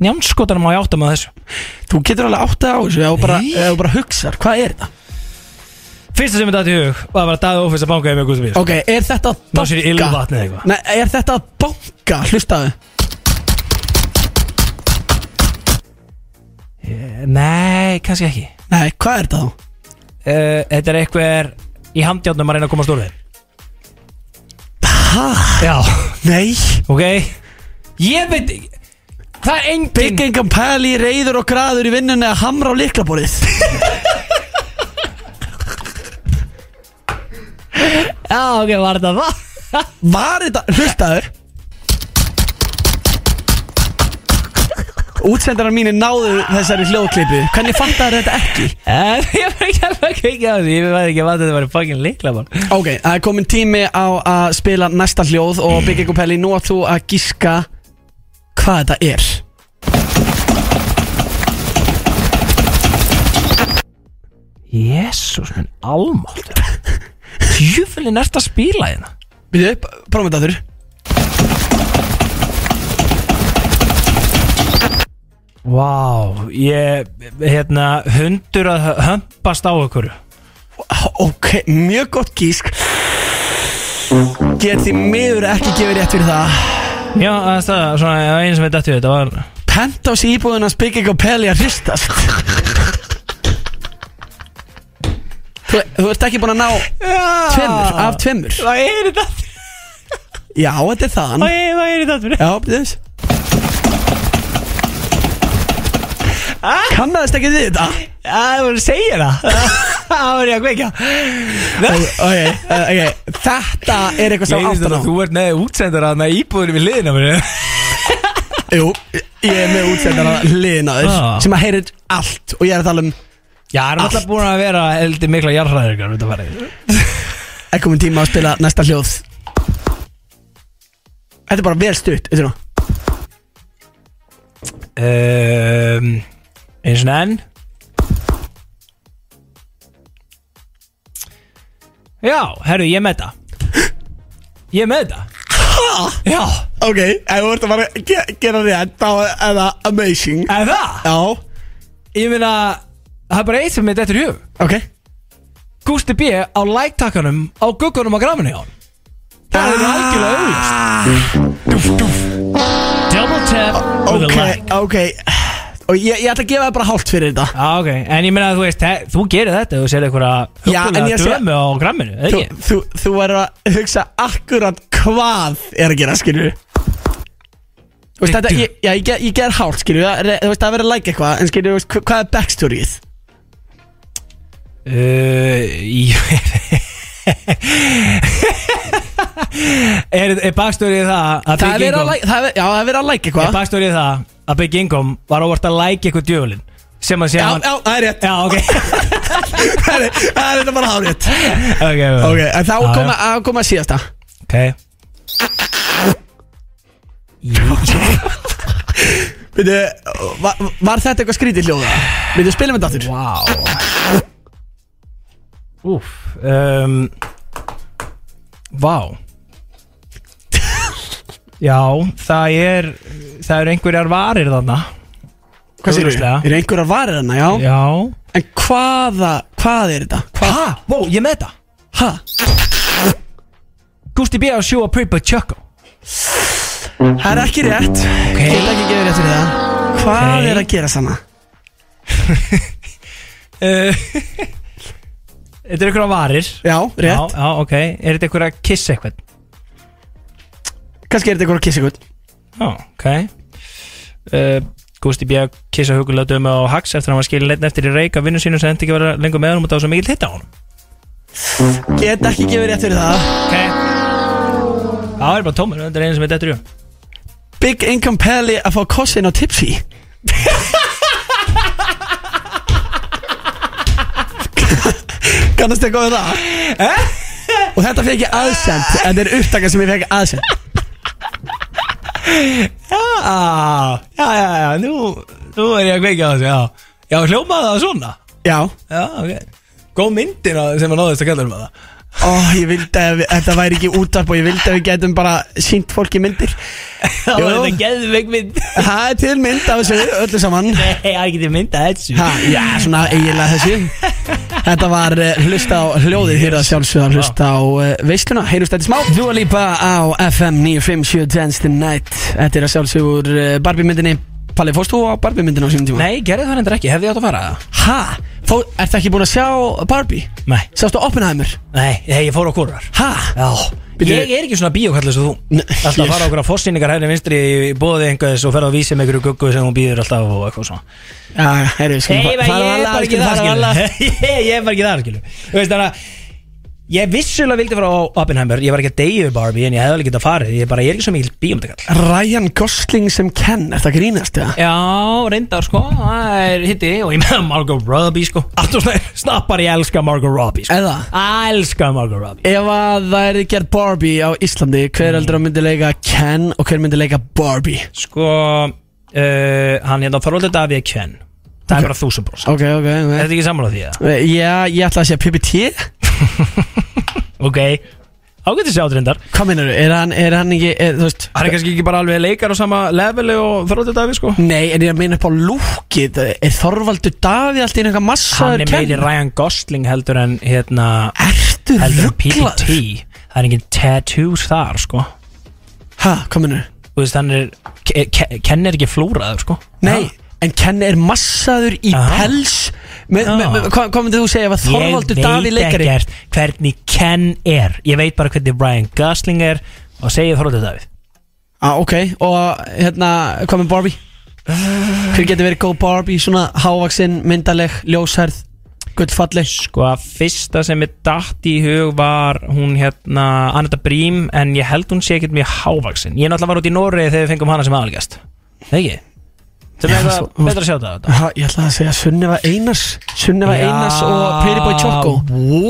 S4: Njánskotanum á ég átta með þessu
S2: Þú getur alveg áttið á þessu Ef þú bara,
S4: Nei.
S2: ef þú bara hugsar, hvað er þetta?
S4: Fyrsta sem ég dætti í hug var bara Dað Ófessa bankaði með Augusta B
S2: Ok, er þetta að
S4: Ná sér í
S2: banka?
S4: ylvatni eða eitthvað
S2: Nei, er þetta að banka? Hlustaðu
S4: Nei, kannski ekki
S2: Nei, hvað er þetta þá?
S4: uh, Þetta er einhver í handjátnum að reyna að komast úr þeim Hæ? Já,
S2: Nei
S4: ok Ég veit ekki Það er engin
S2: Big Gang Pelli reyður og graður í vinnunni að hamra á liklaborið
S4: Já, ok, var þetta það? [laughs]
S2: Var þetta, hlustaðu Útsendarar mínir náðu þessari hljóðklippu Hvernig fattar þetta ekki?
S4: En Eh, ég var ekki alveg að kveika á því Ég veit ekki að þetta var fucking líkla mann
S2: Ok, það er komin tími á að spila næsta hljóð Og Big Ego Pelli, nú að þú að gíska Hvað þetta er
S4: Jésús minn, almátt Tjúfulli nært að spila hérna
S2: Býðu upp, prófum þetta þurr
S4: Vá, ég, hérna, hundur að hömpast á ykkur
S2: Ok, mjög gott gísk Get því miður ekki gefið rétt fyrir það
S4: Já, það er svona einu sem ég dætti við þetta var
S2: Pent á sig íbúðin að Big Ego Pelli að hristast þú, þú ert ekki búin að ná Tvemmur, af tvemmur
S4: Hvað er þetta aftur?
S2: Já, þetta er þann
S4: Hvað er- Hvað er þetta aftur?
S2: Já, býðu þess Kannaðist ekki þið þetta?
S4: Það var að segja það [laughs] Það var ég að kveika
S2: Okay, okay. eh, Þetta er eitthvað sem áttan á
S4: ert með útsendur að það íbúður við liðina mér
S2: Jú, ég er með útsendara liðnaður
S4: Ah.
S2: sem að heyrir allt og ég er að tala um
S4: Já, það er alltaf búin að vera heldur mikla jarðræðingar út að fara í.
S2: er komin tíma að spila næsta hljóð Þetta er bara vel stutt Þetta er nú
S4: um, Eins og enn Já, herru, ég er með þetta Ég er með þetta Já,
S2: Ok, ef þú ert að bara ge gera rétt þá er það amazing
S4: er það?
S2: Já,
S4: Ég meina, það er bara eitt sem mitt eftir hug
S2: ok
S4: Gústi B á lægtakkanum á guggunum á gráminu hjá hann Það er algjörlega auðvist Dúf, dúf Double tap with a
S2: Ok,
S4: like
S2: ok Og ég, ég ætla að gefa það bara hálft fyrir þetta
S4: Já, ok, en ég meina að þú veist, þe- þú gerir þetta Þú sér einhverja
S2: Já, en
S4: huggulega
S2: ég sé-
S4: dömu á gramminu eða
S2: Þú,
S4: ekki?
S2: þú, þú verður að hugsa akkurat hvað er að gera, skilju Þú veist, þetta, ég, já, ég, ger- ég ger hálft, skilju Það er- Þú veist, það verður að læka eitthvað En skilju, þú veist, hva- hvað er backstoryið?
S4: Uh, [laughs] ég- er, er bakstörið það að
S2: Það er
S4: Big
S2: verið að
S4: Income
S2: læka, það er, já, það er verið að læka
S4: Er
S2: eitthvað
S4: bakstörið það að Big Income var óvart að lækja eitthvað djöfulinn sem að sé
S2: Já,
S4: hann
S2: já, það er rétt
S4: Já, ok [laughs]
S2: Það er- það er þetta bara hárétt
S4: Ok,
S2: Ok, en þá
S4: Já,
S2: koma, að koma síðasta
S4: Ok
S2: Veitu, var, var þetta eitthvað skrítið hljóða? Veitu, spilum þetta aftur
S4: Vá Úf um, Vá [laughs] Já, það er Það eru einhverjar varir þarna
S2: Hvað séu við?
S4: Augljóslega.
S2: Er einhverjar varir hana, já?
S4: Já
S2: En hvaða, hvað er þetta? Hva?
S4: Hæ? Vó, ég er með þetta
S2: Ha?
S4: Gusti B. á sjó að Pripa Choco
S2: Það er ekki rétt
S4: Ok.
S2: Ég get ekki gefið rétt fyrir það Hvað
S4: Ok.
S2: er að gera sanna?
S4: Uh, [laughs] Þetta eru einhverjar varir
S2: Já, rétt
S4: Já, já, ok Er þetta einhverjar kiss eitthvað?
S2: Kannski er þetta eitthvað að kissa ykkur
S4: Já, ok uh, Gusti B. kissa hugulega dömu á Hax eftir að hann var skilin leitin eftir í reik af vinnu sínum sem endi ekki að vera lengur með honum og það var svo mikil hitt á honum
S2: Get ekki gefið rétt fyrir það
S4: Ok Það er bara tómur, þetta er einu sem er dettur í hún
S2: Big Income Pally að fá kossin á tipsi [laughs] Kannast eitthvað við það? Eh? Og þetta fekk ég aðsend Þetta er upptaka sem ég fekk aðsend
S4: Já, Ah, já, já, já, nú, nú er ég að kveika á þessu, já Já, hljómaði það svona
S2: Já
S4: Já, ok Góð myndin á- sem að náðist að kalla um það
S2: Ó, ég vildi að við- þetta væri ekki útarp og ég vildi að við getum bara sínt fólki myndir
S4: Það var
S2: Jú.
S4: þetta geðveik [laughs] mynd
S2: Það er til mynd af þessu öllu saman
S4: Nei, það er ekki myndað þessu
S2: ha, Já, svona eiginlega þessu Þetta var uh, hlusta á hljóðið hér að sjálfsögða hlusta á uh, veisluna Heyrjumst þetta í smá Þú að lípa á FM 957 Dance the Night Þetta er að sjálfsögða úr uh, Barbie myndinni Palli, fórst þú á Barbie myndinu á sínum tíma?
S4: Nei, gerði það hendur ekki, hefði ég átt að fara það?
S2: Ha? Fó, ertu ekki búin að sjá Barbie?
S4: Nei,
S2: Sástu Oppenheimer?
S4: nei, nei, ég fór á kúrar
S2: Ha?
S4: Já
S2: Bíddu.
S4: Ég er ekki svona bíókallið sem þú
S2: Nei,
S4: Alltaf
S2: ég-
S4: fara okkur á fórsýningar hægri vinstri í bóði einhvers og ferða að vísa með einhverju guggu sem hún býður alltaf og eitthvað svona
S2: Já, heyrðu,
S4: Nei,
S2: skulum
S4: ég
S2: fara- fara
S4: er
S2: varlega,
S4: bara ekki
S2: skulum fara
S4: þar
S2: varlega.
S4: [laughs] Ég ég er bara ekki þar, skilu Þú veist þannig að Ég vissulega vildi fara á Oppenheimer Ég var ekki að deyja við Barbie En ég hefði alveg getað farið Ég, bara, ég er ekki svo mikil bíómyndakall
S2: Ryan Gosling sem Ken, þetta grínast eða?
S4: Já, reyndar sko Það er hitti Og ég meða Margot Robbie sko Alltaf svona Snappar ég elska Margot Robbie sko
S2: Eða?
S4: Elska Margot Robbie
S2: Ef að það er gerð Barbie á Íslandi Hver heldur að myndi leika Ken og hver myndi leika Barbie
S4: Sko uh, Hann hérna Þorvaldur Davíð Kvenn Það
S2: Ok.
S4: er bara þúsund brós
S2: Ok, ok,
S4: Er
S2: ok
S4: þetta ekki sammála því eða?
S2: Eh, Já, ég ætla að segja PPT
S4: Ok Ágætti sjátt reyndar
S2: Hvað minnur, er hann, er hann ekki, er, þú veist
S4: Það er kannski ekki bara alveg leikar á sama leveli og Þorvaldur Davíð sko
S2: Nei, en ég er að minna upp á lúkið Er Þorvaldur Davíð allt í einu eitthvað massaður
S4: hann er meiri Ryan Gosling heldur en hérna
S2: Ertu
S4: heldur en
S2: rugglaður?
S4: PPT það er engin tattoos þar sko
S2: Ha, hvað minnur?
S4: þú veist hann er ke- ke- Ken er ekki flúraður sko
S2: Nei,
S4: Ha?
S2: en Ken er massaður í
S4: Aha.
S2: pels me, me, me, Hvað hvað myndið þú segja ef að Þorvaldur Davíð leikari
S4: ég veit ekkert hvernig Ken er ég veit bara hvernig Ryan Gosling er og segja Þorvaldur Davíð
S2: ah, Ok, og hérna, hvað með Barbie? Hver getur verið góð Barbie, svona hávaksinn, myndaleg, ljósherð, gullfalleg
S4: sko að fyrsta sem ég datt í hug var hún hérna Anita Brím en ég held hún sé ekkert mjög hávaksin ég náttúrulega var út í Nóri þegar við fengum hana sem aðalgast ekki sem
S2: Já,
S4: er
S2: svo-
S4: eitthvað betra að sjá þetta
S2: Ha, ég ætla að segja Sunniva Einars Sunniva
S4: Já,
S2: Einars og Pretty Boy Choco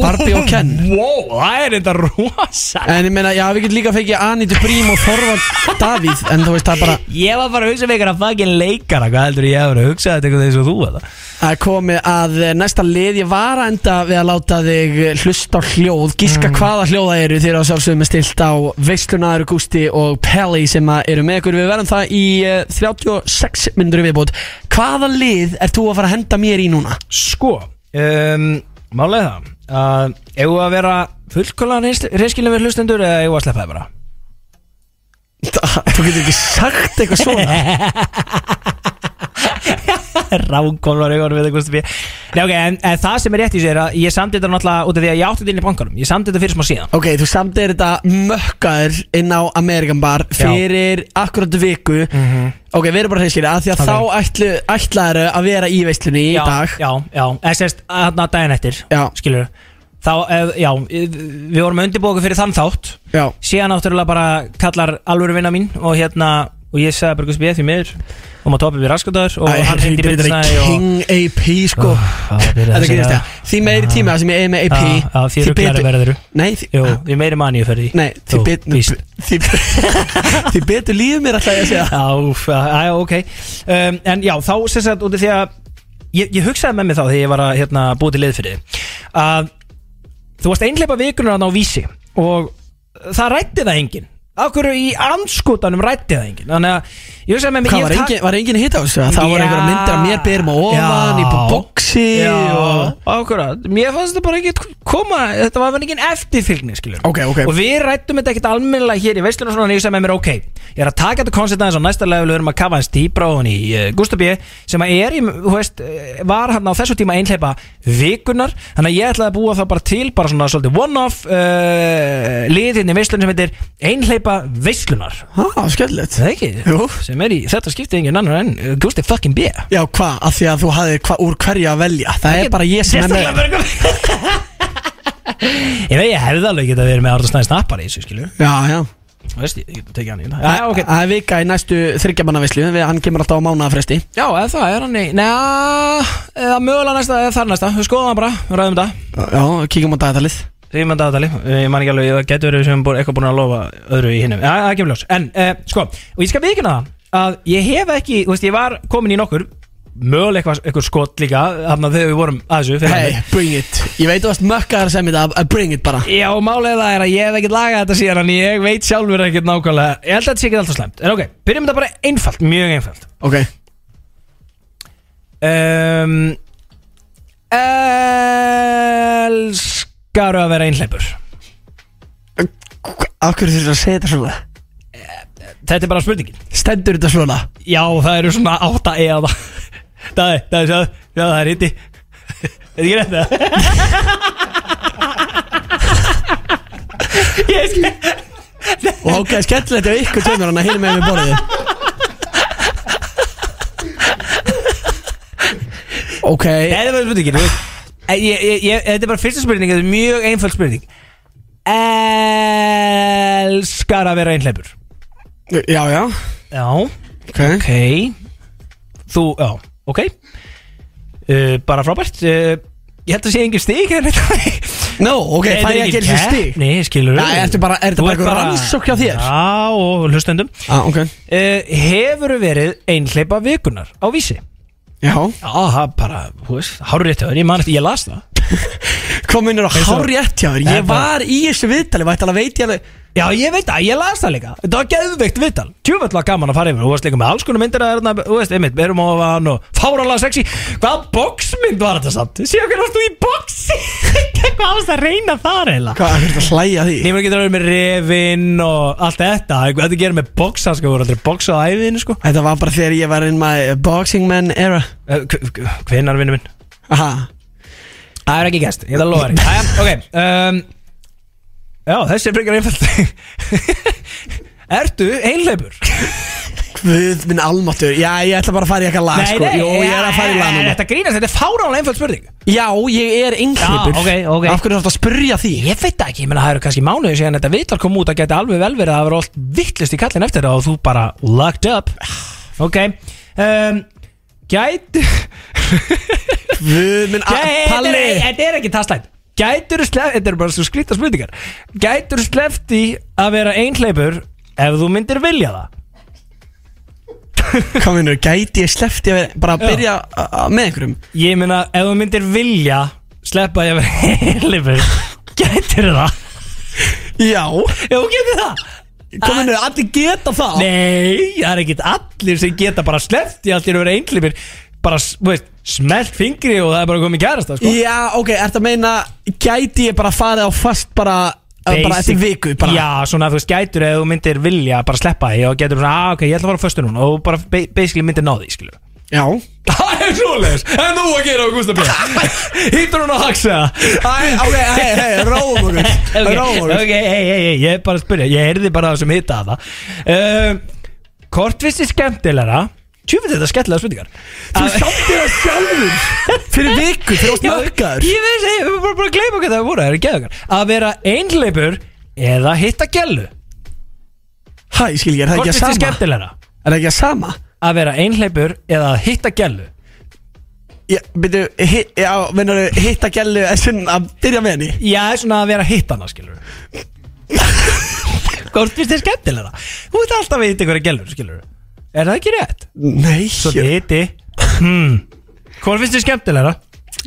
S2: Barbie og Ken
S4: wow, Það er þetta rosa
S2: En ég meina, já, við getum líka fekið Anitu Brím og Þorvald Davíð En þú veist, það er bara
S4: Ég var bara að hugsa með einhverja fucking leikara Hvað heldur ég að vera að hugsa þetta eitthvað eins og þú eða?
S2: að komi að eh, næsta lið Ég var að enda við að láta þig eh, hlusta á hljóð
S4: Mm.
S2: Gíska hvaða hljóða eru þegar á sjálfsögum er stilt á Veislunaður Gústi og Pelli sem að eru með ykkur Við verðum það í eh, 36 myndur viðbútt Hvaða lið ert þú að fara að henda mér í
S4: [laughs]
S2: núna?
S4: Sko um, Málega það að Egu að vera fullkólan reyskilin við hlustendur Eða egu að sleppa það bara
S2: Þú getur ekki sagt eitthvað svona
S4: Rákomlar augunum við það Gusti B Nei ok, en, en það sem er rétt í sér að ég samdi þetta náttúrulega út af því að ég átti þetta inn í bankanum Ég samdi þetta fyrir smá síðan
S2: [laughs] Ok, þú samtir þetta mökkaður inn á Amerikan Bar fyrir akkurat viku Ok, við erum bara hreinskýri að því að
S4: Mhm. Ok.
S2: þá ætlu, ætlaðu að vera í veislunni í
S4: já,
S2: dag
S4: Já, já, eða sérst hann að daginn eftir já. Skilur Þá, eh, já, við vorum undirbóku fyrir þann þátt
S2: Já
S4: Síðan náttúrulega bara kallar alvöru vinna mín Og hérna, og ég sagði bara Gusti B því miður Og maður topið við raskataður Og
S2: Æ,
S4: hann hindi
S2: þetta er
S4: byrðið
S2: bara King AP sko Þetta gerist það Því meiri tíma sem ég er með AP
S4: Já, því
S2: því
S4: rugglari
S2: betur-
S4: verður
S2: Nei, því-
S4: Jú, því meiri manni ég fer í
S2: Nei, því betur Því því betur lífið mér alltaf ég
S4: [laughs]
S2: að segja
S4: Já, úff, já, já, ok um, En já, þá sem sagt út af því að ég, ég hugsaði með mig þá þegar ég var að hérna, búið til lið fyrir þig að þú varst einhleipa vikunar þarna á vísi og það rætti það enginn Af hverju í anskotanum rætti það enginn Þannig að ég hugsaði með mig
S2: Hvað
S4: ég
S2: var
S4: ta-
S2: engin, var engin hitt á þessu? Það voru
S4: Já.
S2: einhverja myndir af mér berum á ofan Í boxi
S4: Já,
S2: og
S4: akkurat Mér fannst þetta bara ekki koma Þetta var bara ekki eftirfylgni, skiljum
S2: Ok, ok.
S4: Og við rættum þetta ekkert almennilega hér í veislunum og svona, en ég sagði með mér, ok Ég er að taka þetta koncept aðeins á næsta level Við erum að kafa hans dýbra ofan í uh, Gustaf B Sem að er, í, þú veist, eh, var hann á þessu tíma einhleipa vikunar Þannig að ég ætlaði að búa það bara til Bara svona svolítið one-off uh, Liðinni veislun sem heitir Einhleipa veislunar
S2: Há, skellilegt
S4: Það ekki? Jú Sem er í þetta skipti engin annar en uh, Gustaf fucking B
S2: Já, hvað? Af því að þú hafði hva, úr hverju að velja Það er bara ég sem er
S4: Sérstaklega
S2: með
S4: [laughs] Ég veit, ég hefði alveg getað verið með Arnur Snæði snappar í þessu, skilur
S2: Já, já
S4: Þú veist, ég getað tekið hann í Ah, þetta
S2: Það okay. er vika í næstu þryggjamannavislu Hann kemur alltaf á mánafresti
S4: Já, eða það er hann í Næja, eða mögulega næsta, eða þar næsta Við skoðum hann bara, við ræðum þetta
S2: Já, kíkjum á dagatali
S4: Rífum þetta aðtali, ég man ekki alveg, það getur verið sem búin, eitthvað búin að lofa öðru í hinnum Já, það kemur ljós En, eh, sko, og ég skal viðkynna það Að ég hef ekki, þú veist, ég var komin í nokkur Mögulega eitthvað, eitthvað skot líka Þannig þegar við vorum að þessu fyrir hann.
S2: Hey, bring it Ég veit þú varst mökkaðar sem þetta að uh, Bring it bara
S4: Já, málega það er að ég hef ekkert lagað þetta síðan En ég veit sjálfur ekkert nákvæmlega Ég held að þetta sé ekkert alltaf slæmt En ok, byrjum þetta bara einfalt, mjög einfalt
S2: Ok
S4: um, Elskaru að vera einhleipur
S2: Af hverju þurftur að segja þetta svona?
S4: Þetta er bara spurningin
S2: Stendur þetta svona?
S4: Já, það eru svona átta e að það Það er, það er, sjáðu, sjáðu, það er hitti Er ekki [laughs] rétt það? Ég skil
S2: Og ok, skellilegt ef ykkur tveimur hann að hinna með mér borðið Ok
S4: Nei, það var spurningin þú veist. Eh, Ég- ég- ég- ég- Þetta er bara fyrsta spurning Þetta er mjög einföld spurning Elskar að vera einhleipur
S2: Já, já
S4: Já
S2: Ok
S4: Ok Þú, já, ok
S2: Eh,
S4: uh, Bara frábært uh, Ég held að sé engin stig hérna.
S2: [laughs] No, ok,
S4: Þetta
S2: fæ ég ekki eins og stig
S4: keppni, skilur
S2: Nei, ertu bara- er þetta bara einhver rannsókn hjá þér?
S4: Já, og hlustendum
S2: ah, ok
S4: uh, Hefur verið einhleipa vikunar á vísi?
S2: Já
S4: Já, það bara, hú veist, hárur rétt Ég man eftir, ég las það
S2: Komin er á
S4: Eins og-
S2: hár rétt hjá þér
S4: Þetta-
S2: Ég var í þessu viðtali Vætti alveg veit ég alveg
S4: Já, ég veit það, ég las það líka Þetta var geðveikt viðtal Tjúfell var gaman að fara yfir Þú varst líka með alls konar myndir að erna Þú veist, einmitt, berum ofan og fáralega sexy Hvaða boxmynd var þetta samt? Sér hvernig varst þú í boxi? [laughs] Hvað varst að reyna þar eiginlega?
S2: Hvað, er þetta að hlæja að því?
S4: Nýmur getur að vera með revin og allt þetta Hvað þetta gerir með boxa, sko, voru aldrei boxa á æfiðinu, sko
S2: Þetta var bara þegar ég var in my boxing man era
S4: Eh, Hvenar, vinnu minn?
S2: Aha
S4: Það er ekki gæst, ég ætla að lofa þér Æja, ok um, Já, þessi er frekar einfalt [laughs] Ertu einhleipur?
S2: Guð minn almáttur Já, ég ætla bara að fara í eitthvað
S4: Ah,
S2: lag sko Jó, ég er að fara í lag núna
S4: eh, Þetta grínast, þetta er fáránlega einföld spurning
S2: Já, ég er yngleipur
S4: Já, ok, ok.
S2: Af hverju þarf að spurja því?
S4: Ég veit það ekki, ég meina það eru kannski mánuðið síðan þetta viðtal kom út að geta alveg vel verið að það vera allt vittlust í kallin eftir það og þú bara locked up Ok um, [laughs] Gæt
S2: Guð minn
S4: Gæ-
S2: al-
S4: þetta er-
S2: Palli
S4: Þetta er ekki taslæn Gætur sleft, þetta eru bara svo skrýta spurningar Gætur sleft í að vera einhleipur ef þú myndir vilja það
S2: Hvað minnur, gæti ég sleppti að vera Bara að
S4: Já.
S2: byrja a- a- með einhverjum
S4: Ég meina, ef þú myndir vilja sleppa ég að vera [laughs] einhleipur Gætur það
S2: Já
S4: Já, þú getur það
S2: Hvað minnur, allir geta það
S4: Nei, það er ekkit allir sem geta bara sleppt í allir að vera einhleipir bara, þú veist, smelt fingri og það er bara komið kærasta, sko
S2: Já, ok, ertu að meina Gæti ég bara farið á fast bara Bara
S4: Basic-
S2: eftir viku bara
S4: Já, svona þú veist, gætur eða þú myndir vilja bara sleppa því og getur svona, ah, ok, ég ætla að fara á föstu núna og bara ba- basically myndir ná því, skilur
S2: Já
S4: [laughs] Það er svoleiðis En þú að gera á Gústa B [laughs] Hýttur hún að haxa [laughs] Æ,
S10: ok, hei, hei, róum okkur Róum okkur
S4: [laughs] Ok, hei, hei, hei Ég er bara að spyrja Ég heyrði bara það sem hita það uh, Hvort finnst þið skemmtilegra Tjúfið þetta skemmtilega spurningar
S2: Þú samt þér að sjálfur Fyrir viku, fyrir ást mörgaður
S4: Ég veist, ég var bara, bara að gleyma hvað það voru Það eru geðugar Að vera einhleipur Eða hitta gellu
S2: Hæ, ég skil ég, er það ekki
S4: Hvort
S2: að
S4: finnst þið
S2: sama?
S4: skemmtilegra
S2: Er það ekki að sama?
S4: Að vera einhleipur Eða að hitta gellu
S2: Já, byrju, hi- já, mennur hitta gælu Þessum að byrja með henni
S4: Já, svona að vera hittana,
S2: [laughs]
S4: skilur Hvort finnst þér skemmtilega? Þú veit alltaf að hitta ykkur að gælur, skilur Er það ekki rétt?
S2: Nei,
S4: Svo þið hitti hmm. Hvort finnst þér skemmtilega?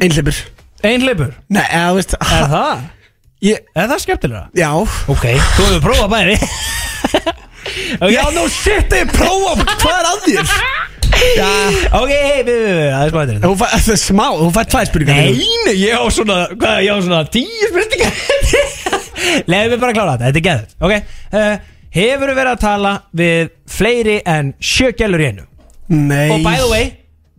S2: einhleipur
S4: Einhleipur
S2: Nei, eða, þú veist
S4: Er það?
S2: ég,
S4: Er það skemmtilega?
S2: Já
S4: Ok, þú hefur prófað
S2: [laughs]
S4: bæri okay.
S2: Já, no shit, ég prófa Hvað er að þér?
S4: Ok, hei, við, við, við, það er smá þetta
S2: Þú fær, það er smá, þú fær tvær spurningar
S4: Nei, nei, ég á svona, hvað, ég á svona tíu spurningar [laughs] Leðum við bara að klára þetta, þetta er geðut Ok, uh, hefur verið að tala við fleiri en sjö gælur í einu
S2: Nei
S4: Og by the way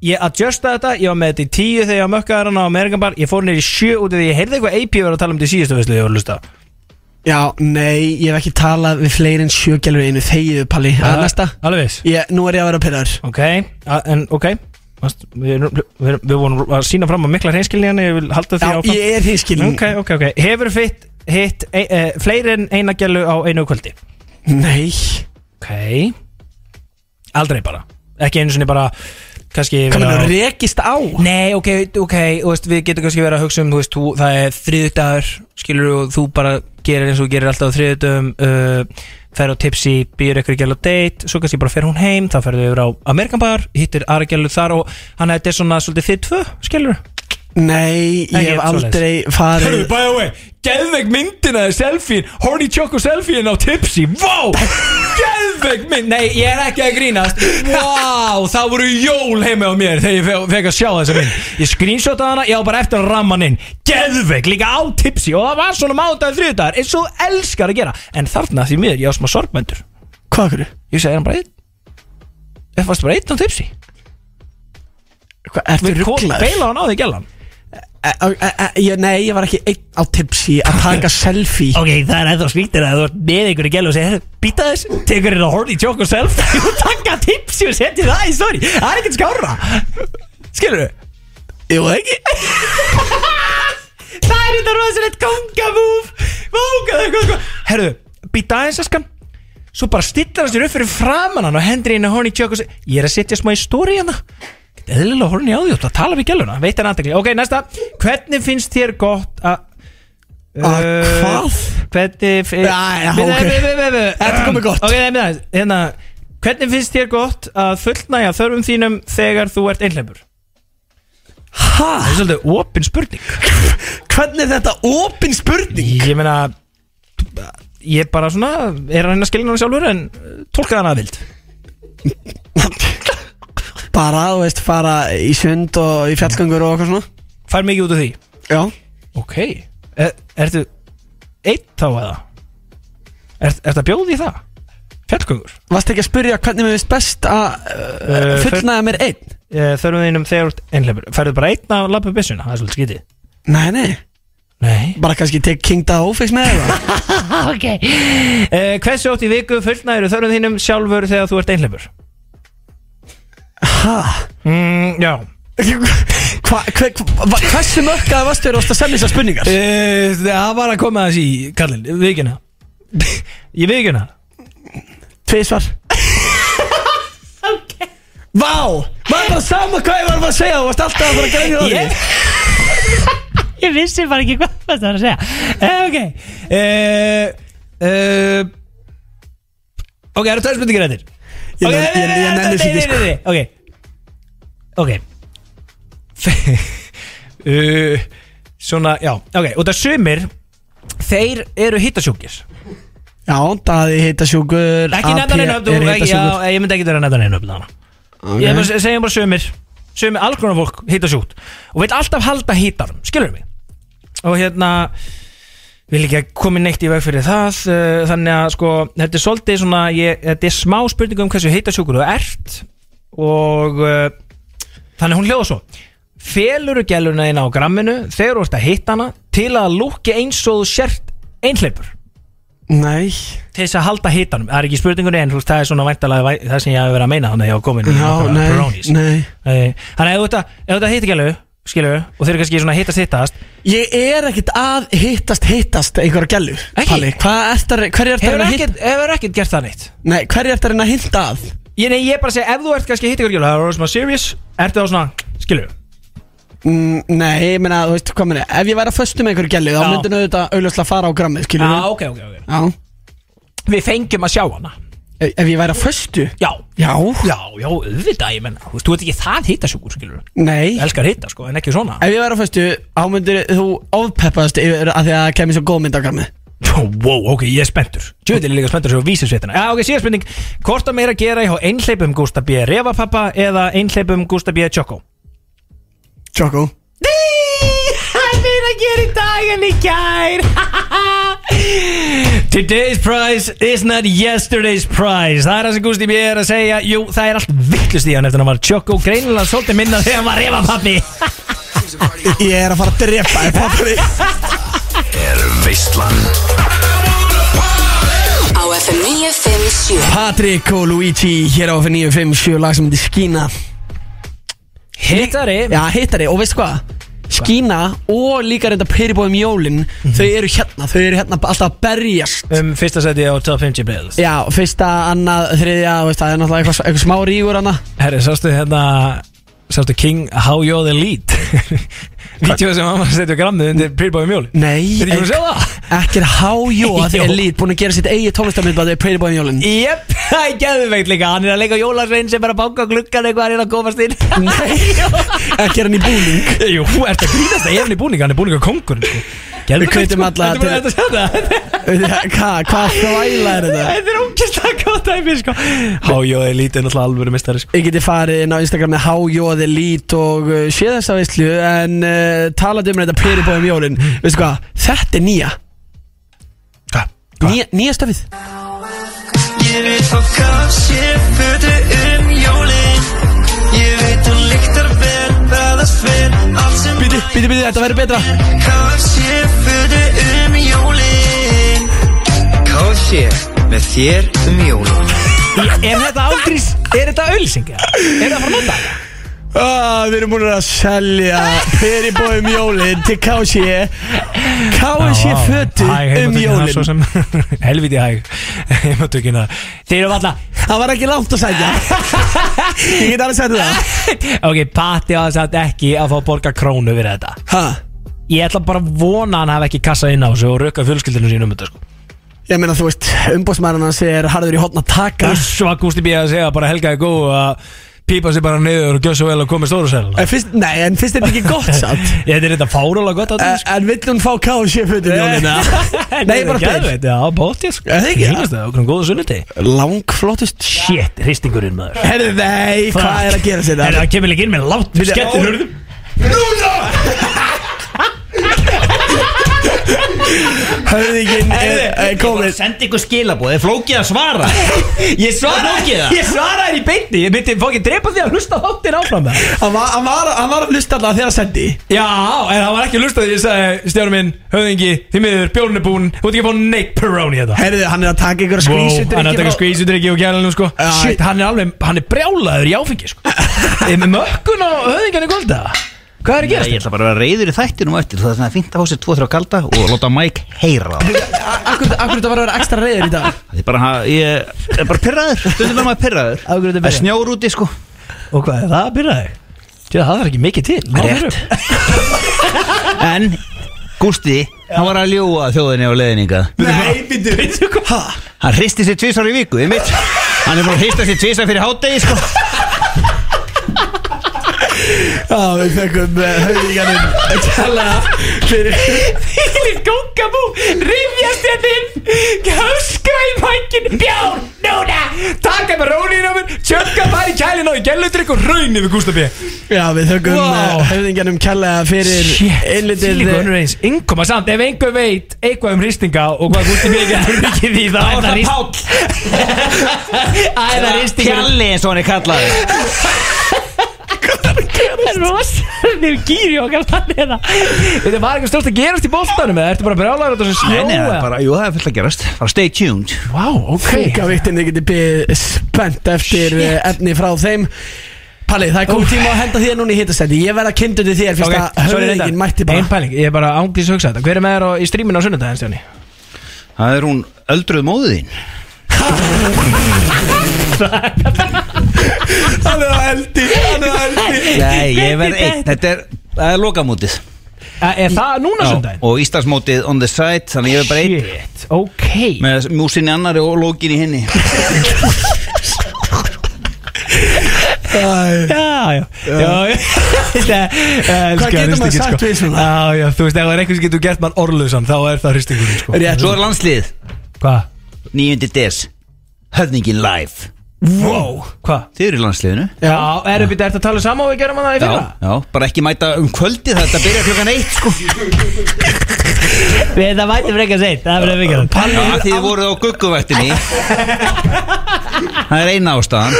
S4: Ég adjusta þetta, ég var með þetta í tíu þegar ég var mökkaður hann á Amerikan bar Ég fór niður í sjö út af því ég heyrði eitthvað AP verið að tala um þetta í síðustu veislu þegar ég var að lusta
S2: Já, nei, ég hef ekki talað við fleiri en sjögælur einu Þegiðu, Palli, að næsta
S4: Uh, Alveg viss
S2: ég, Nú er ég að vera pyrraður
S4: Ok, a- en ok Vast- Við, erum- við, erum- við vorum að sína fram á mikla hreinskilni hérna, Ég vil halda því
S2: Já,
S4: áfram
S2: ég er hinskilin
S4: Ok, ok, ok Hefur fitt hitt e, e, fleiri en eina gælu á einu kvöldi
S2: Nei
S4: Ok Aldrei bara Ekki einu sinni bara Kannski
S2: Hvað
S4: vera-
S2: er rekist á?
S4: Nei, ok, ok, þú veist, við getum kannski verið að hugsa um, þú veist, þú, það er þriðdagur, skilur þú, þú bara gerir eins og þú gerir alltaf á þriðdagum, uh, fer á tipsi, býr ykkur gælu á date, svo kannski bara fer hún heim, þá ferðu yfir á Amerikan bar, hittir aðra gælu þar og hann þetta er svona svolítið þið tvö, skilur þú?
S2: Nei, ég
S4: Ekki
S2: hef
S4: svoleiðis.
S2: aldrei farið
S4: by the way, geðveg myndina er selfie, horny choco selfie-in á tipsi, vá, geðveg mynd, nei, ég er ekki að grínast, vá, það voru jól heima á mér þegar ég fe- fekk að sjá þessa mynd, ég screenshotaði hana, ég á bara eftir að ramma hann inn, geðveg, líka á tipsi og það var svona mándagur þriðdagar, eins og þú elskar að gera, en þarna því miður, ég á smá sorgmöndur,
S2: Hvað okkur?
S4: ég segi hann bara einn, það varst bara einn á tipsi,
S2: Hvað, ertu rugglaður?
S4: beila hann á því gælan.
S2: Nei, ég var ekki einn á tipsi að taka selfie
S4: Ok, það er eða skrýttir að þú ert með einhverju gælu og segir Býta þess, tekur hérna horny joke og [laughs] selfie og taka tipsi og setja það í story Það er ekkert skára Skilur þau?
S2: Jú, ekki?
S4: [laughs] Það er þetta rosalegt kongamúf Vóka það, hvað, hvað Herðu, býta aðeins askan Svo bara stillar hann sér upp fyrir framan hann og hendur inn að horny joke og segir Ég er að setja smá í story hérna Eðlilega horny á því, þú ert að tala við gæluna Veit hann aðtekli Ok, næsta Hvernig finnst þér gott að
S2: Að
S4: Uh,
S2: hvað?
S4: Hvernig fi-
S2: Já, já,
S4: Við-
S2: ok.
S4: við- við- við- við-
S2: Þetta er komið gott.
S4: Ok, nei, nei, hérna Hvernig finnst þér gott að fullnæja þörfum þínum þegar þú ert einhleipur?
S2: Ha?
S4: Það er svolítið opin spurning
S2: Hvernig er þetta opin spurning?
S4: Ég meina Ég bara svona Er hann að skilja hann sjálfur en uh, tólkaði hann að vild
S2: Bara, þú veist, fara í sund og í fjallgangur og eitthvað svona
S4: Fær mikið út af því
S2: Já
S4: Ok er, Ertu Eitt þá eða? Er, ertu að bjóða í það? Fjallgöngur
S2: Varst ekki að spyrja hvernig mér finnst best að uh,
S4: Eh,
S2: fullnaða mér einn?
S4: Eh, Þörfum þínum þegar þú ert einhleipur Færðu bara einn að lappa byssuna Það er svolítið skítið
S2: Nei, nei,
S4: Nei
S2: bara kannski tek King Dahofix með [laughs] það
S4: Uh, hversu átt í viku fullnæður þörfum þínum sjálfur þegar þú ert einhleipur?
S2: Ha?
S4: Mm, já
S2: Hva, hva, hva, hversu mörkaði varstu þér ást að semja þessar spurningar?
S4: uh, Það var að koma þess í kallin, vikuna Ég vikuna
S2: Tvísvar Ok Vá, maður bara sama hvað ég var að segja Þú varst alltaf að fara að græna það
S4: Ég [laughs] Ég vissi bara ekki hvað það var að segja uh, Ok uh, uh, Ok, það eru tveir spurningar eftir
S2: Ég nenn- ég- ég nenni þessu ekki, sko.
S4: Ok Ok [laughs] uh, Svona, já, ok Og það sumir Þeir eru hittasjúkir
S2: Já, Daði heita sjúkur
S4: Ekki nefna neina upp, þú- ekki-
S2: sjúkur
S4: já, ég myndi ekki vera að nefna neina upp þarna Ég er bara að segja bara sömur Sömur, alls konar fólk hýta sjúkt Og veit alltaf halda hýtanum, skilur mig Og hérna Vil ekki að komi neitt í veg fyrir það uh, Þannig að sko, þetta er svolítið svona ég, Þetta er smá spurning um hversu hýta sjúkur þú ert Og uh, Þannig hún hljóða svo Felur gæluna þín á gramminu Þegar þú ert að hitta hana Til að lúkki eins og þú sért einhleipur
S2: Nei
S4: Til þess að halda hitanum Það er ekki spurningunni en þú veist, það er svona væntalega væ- Það sem ég hef verið að meina þannig að ég á komin í
S2: Já,
S4: bara
S2: nei,
S4: bronies.
S2: nei.
S4: Nei, Þannig að ef þú ert að- ef þú ert að hitta gælu Skilur, og þeir eru kannski svona hittast hittast
S2: Ég er ekkert að hittast hittast einhverja gælur Palli, hvað ertu að Hverju ertu að
S4: Hefur
S2: reyna að hitta
S4: ekkert, hefur ekkert gert það neitt
S2: Nei, hverju ertu að reyna að hitta að
S4: Ég, nei, ég er bara að segja, ef þú ert kannski að hitta ykkur gjölu, það er svona serious, ertu þá svona, skilur
S2: Mm, nei, ég meina, þú veist hvað meina Ef ég væri að föstu með einhverju gælu Þá
S4: Já.
S2: myndi auðvitað auðvitað fara á grammið, skilur
S4: Já, ok, ok, ok
S2: Já
S4: Við fengjum að sjá hana
S2: Ef ef ég væri að föstu
S4: Já,
S2: Já
S4: já, já, auðvitað, ég menna, þú veist, þú ert ekki það hittasjúkur, skilur
S2: Nei
S4: Ég elskar hitta, sko, en ekki svona
S2: Ef ég væri að föstu Þá myndir þú ofpeppaðast yfir að því að það kemur svo góð mynd á grammið
S4: Wow, ok, ég er spenntur Tjóðil er líka spenntur svo vísinsveitina Já, ok, síðan spurning, hvort að meira gera hjá einhleipum Gústa B. Refapappa eða einhleipum Gústa B. Choco?
S2: Choco
S4: Það er meira að gera í dag en í gær [laughs] Today's prize is not yesterday's prize Það er það sem Gusti B. er að segja Jú, það er allt vittlust í hann eftir að hann var Choco greinilega svolítið minna þegar hann var refa pappi
S2: Ég er að fara að drepa þig, pappi
S7: Er veislan
S6: Á FM 957
S2: Patrik og Luigi hér á F957 lag sem heitir Skína
S4: Hittari
S2: Já, hittari og veistu hvað? Skína og líka reynda peribóðum jólin Þau eru hérna, þau eru hérna alltaf að berjast
S4: Um fyrsta seti á top 50 playlist
S2: Já, fyrsta, annað, þriðja, þú veist, það er náttúrulega eitthvað, eitthvað smá rígur hana
S4: Herri, sástu hérna Sástu King How You're the [laughs] Lead Vídeó sem hann var að setja á grammið undir Pyrrbáði mjól
S2: Nei,
S4: Þetta ekki að sjá það?
S2: ekki er [laughs] hájó að
S4: Jó.
S2: þið er lít búin að gera sitt eigið tónlistamindbæði peribóðum um jólin
S4: Jep, það er geðveikt líka Hann er að leika jólasvein sem er að banka á gluggan eitthvað hann er að komast inn Nei
S2: [laughs] Ekki er hann í [laughs] búning
S4: [laughs] Jú, þú ert að grínast það, ég er hann í búninga, hann er búninga kongur Við
S2: hvetjum alla
S4: Þetta er bara að sjá [laughs] það
S2: Hvað, hvað þvæla er þetta?
S4: Þetta er ógæslega gott dæmi sko Hájóði lítið er náttúrulega alvöru mistari sko
S2: Ég geti farið inn á Instagram með hájóði lít og uh, séð þessa veislu en uh, talandi um þetta peribóðum jólin veistu hvað, þetta er nýja
S4: Hvað?
S2: Nýja, nýja stöfið
S8: Ég veit hvað gaf sér fötu um jólin Ég veit hún lyktar vel, verðast vel Allt sem
S2: Bíti, bíti, bíti, þetta verður betra
S8: gaf sér fötu um jólin
S3: KFC með þér um jólum
S4: Er þetta ágrís, er þetta ölsinga? Er þetta að fara að nota?
S2: ah, Við erum búin að selja peribóðum jólin til KSJ KSJ fötu um jólin
S4: jólin [laughs] Helviti hæg Heimatökina Þeir eru alltaf
S2: Það var ekki langt að segja Ég get alveg sagt það
S4: [laughs] Ok, Patti á þess að ekki að fá að borga krónu fyrir þetta
S2: ha,
S4: Ég ætla bara að vona að hann hafi ekki kassað inn á þessu og rökkað fjölskyldinu sínum um þetta sko
S2: Mm. Ég meina þú veist, umbóðsmæðan hans er harður í hotna taka
S4: Þess var Gústi B. að segja bara helgaði góð að pípa sig bara niður og gjöð svo vel og komið stóru sæluna
S2: En fyrst, nei, en fyrst er þetta ekki gott satt
S4: Ég þetta er þetta fáróla gott sko. á
S2: Eh,
S4: þessu
S2: En vill hún fá KFC fötin
S4: Eh. [laughs]
S2: jólina? [laughs] Nei, bara Eh, fyrir
S4: Já, bóttið sko
S2: Er það ekki?
S4: Hýnast það, okkur um góðu sunnuti
S2: Langflottust
S4: Shit, hristingurinn maður
S2: Herðu, nei, Eh, hvað er að gera sér
S4: Er
S2: það?
S4: það kemur ekki inn með látt Skettir hurðum
S2: Höfðingin er
S3: Herðu,
S2: er komið
S3: Sendi ykkur skilabóð, er flókið að svara
S4: Ég svara
S3: flókið það?
S4: Ég svara þér í beinni Ég myndi fókið drepa því að hlusta þáttir áfram það
S2: Hann var, hann var, hann var að hlusta allavega þegar að sendi
S4: Já, en það var ekki að hlusta því Ég sagði Stjórn minn, höfðingi, þið miður, bjórn er búinn Þú ert ekki að fá neitt Peroni þetta
S2: Herðu, hann er að taka ykkur
S4: Wow, hann er að
S2: skvísutrykkir
S4: taka skvísudrykki og gæla nú sko
S2: Já,
S4: Shit, hann er alveg, hann er brjálaður í áfengi [laughs] sko Er með mökkun og höfðingan í gólda Hvað er að
S3: Ég
S4: gerast
S3: ætla bara að vera reyður í þættinum á eftir Það er svona fínt að fá sér tvo þrjá kalda og láta Mike heyra það
S2: Akkur þetta var að vera ekstra reyður í dag
S3: Það er bara, ha- ég er bara pyrraður Stundum er maður pyrraður
S4: Af hverju ertu
S3: Það er
S4: pirraður?
S3: snjór úti sko
S4: Og hvað er það að byrja þig? Það þarf ekki mikið til Ná,
S3: Rétt.
S4: fyrir.
S3: En, Gústi, hann var að ljúa þjóðinni á leiðninga
S2: Nei, býttu Býttu hvað?
S3: Hann hristi sér tvisar í viku, ég mitt Hann er búin að hrista sér tvisar fyrir hádegi sko
S2: Já, við eh, fekkum höfðinganum Kjalla fyrir
S4: Þvílið kongabú, rifjast hérna inn Öskra í mækin, bjár, núna Taka bara rónið á mér, tjökka bara í kælin og gælutrygg og raun yfir Gústa B
S2: Já, við þökkum
S4: Wow.
S2: wow. höfðinganum kjalla fyrir innlitið eh,
S4: Þvílík önnur eins, innkoma samt Ef einhver veit eitthvað um hristinga og hvað Gústi B getur mikið í það
S3: Það er Páll
S4: Æða
S3: Kjalli eins og hann er kallaður
S4: Það er rosalega gýri okkar þannig að Þetta var eitthvað stórst að gerast í boltanum eða ertu bara brjálagur á þessu snjó
S3: Nei, nei, það
S4: eða?
S3: er bara, jú, það er fullt að gerast Bara stay tuned
S4: Wow, ok
S2: Fika vittin, þið getið beðið spennt eftir Shit. efni frá þeim Palli, það er komið tíma að henda þér núna í hittastendi Ég verð að kynntu til þér fyrst að höfðingin mætti
S4: Einn
S2: bara
S4: pæling, ég er bara ánglís að hugsa þetta Hver er með þér á- í stríminu á sunnudaginn, Stjáni?
S3: Það er hún öldruð móðið þín
S10: Hann er að eldi Hann er að eldi
S3: Nei, ég verð einn Þetta er, það er lokamótið
S4: Er það núna
S3: Já,
S4: sunnudaginn?
S3: Og Íslandsmótið on the side Þannig ég verð bara einn
S4: Shit, ok
S3: Með músinni annari og lókinni henni
S4: Já, já, já, [laughs] já. Hvað
S2: Hvað getur maður sagt við svona?
S4: sko. Já, já, þú veist, ef það er eitthvað sem getur gert mann orluðsan þá er það hristingurinn, sko
S2: Rétt.
S3: Svo er landslið
S4: Hvað?
S3: 9. des Höfningin live
S4: Wow, hvað?
S3: Þið eru í landsliðinu
S4: Já, er uppið þetta að tala saman og við gerum hann það í fyrra?
S3: já, bara ekki mæta um kvöldi Þetta byrja klokkan eitt sko
S4: Við þetta mætum frekar seint, það verður vikar
S3: Já, Þið voruð á gugguvættinni [laughs] Það er eina ástæðan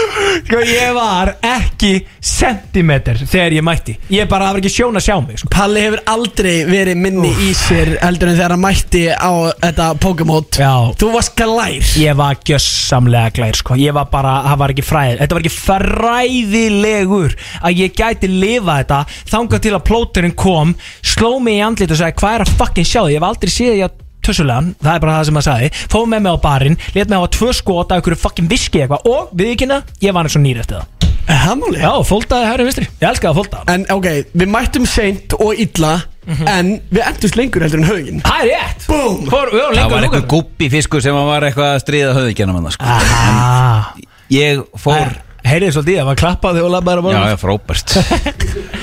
S4: Sko, ég var ekki sentimeter þegar ég mætti Ég bara, það var ekki sjón að sjá mig, sko
S2: Palli hefur aldrei verið minni í sér heldur en þegar hann mætti á þetta Pokémon
S4: Já.
S2: Þú varst glær
S4: Ég var gjössamlega glær sko Ég var bara, það var ekki fræð Þetta var ekki fræðilegur Að ég gæti lifa þetta Þangað til að plóturinn kom Sló mig í andlit og sagði hvað er að fucking sjá því Ég hef aldrei séð ég að Tussulegan, það er bara það sem maður sagði Fóð með mig á barinn, let mig hafa tvö skot Af einhverju fucking viski eitthvað Og við ekki hérna, ég var eins og nýr eftir það
S2: Hamúli
S4: Já, fóltaði hægri vinstri, ég elska að fólta
S2: En ok, við mættum seint og illa
S4: Mhm.
S2: En við endust lengur heldur en höfðingin
S4: Það er rétt
S2: Búm.
S4: Fór, við varum
S3: Það var
S4: lengur að
S3: einhver
S4: lúka
S3: guppi fiskur sem var eitthvað að stríða höfðingjana manna sko
S4: Ah,
S3: Ég fór
S4: Heyrið svolítið, það var klappaði og labbaði
S3: Já,
S4: að borða
S3: já,
S4: [laughs]
S3: frábært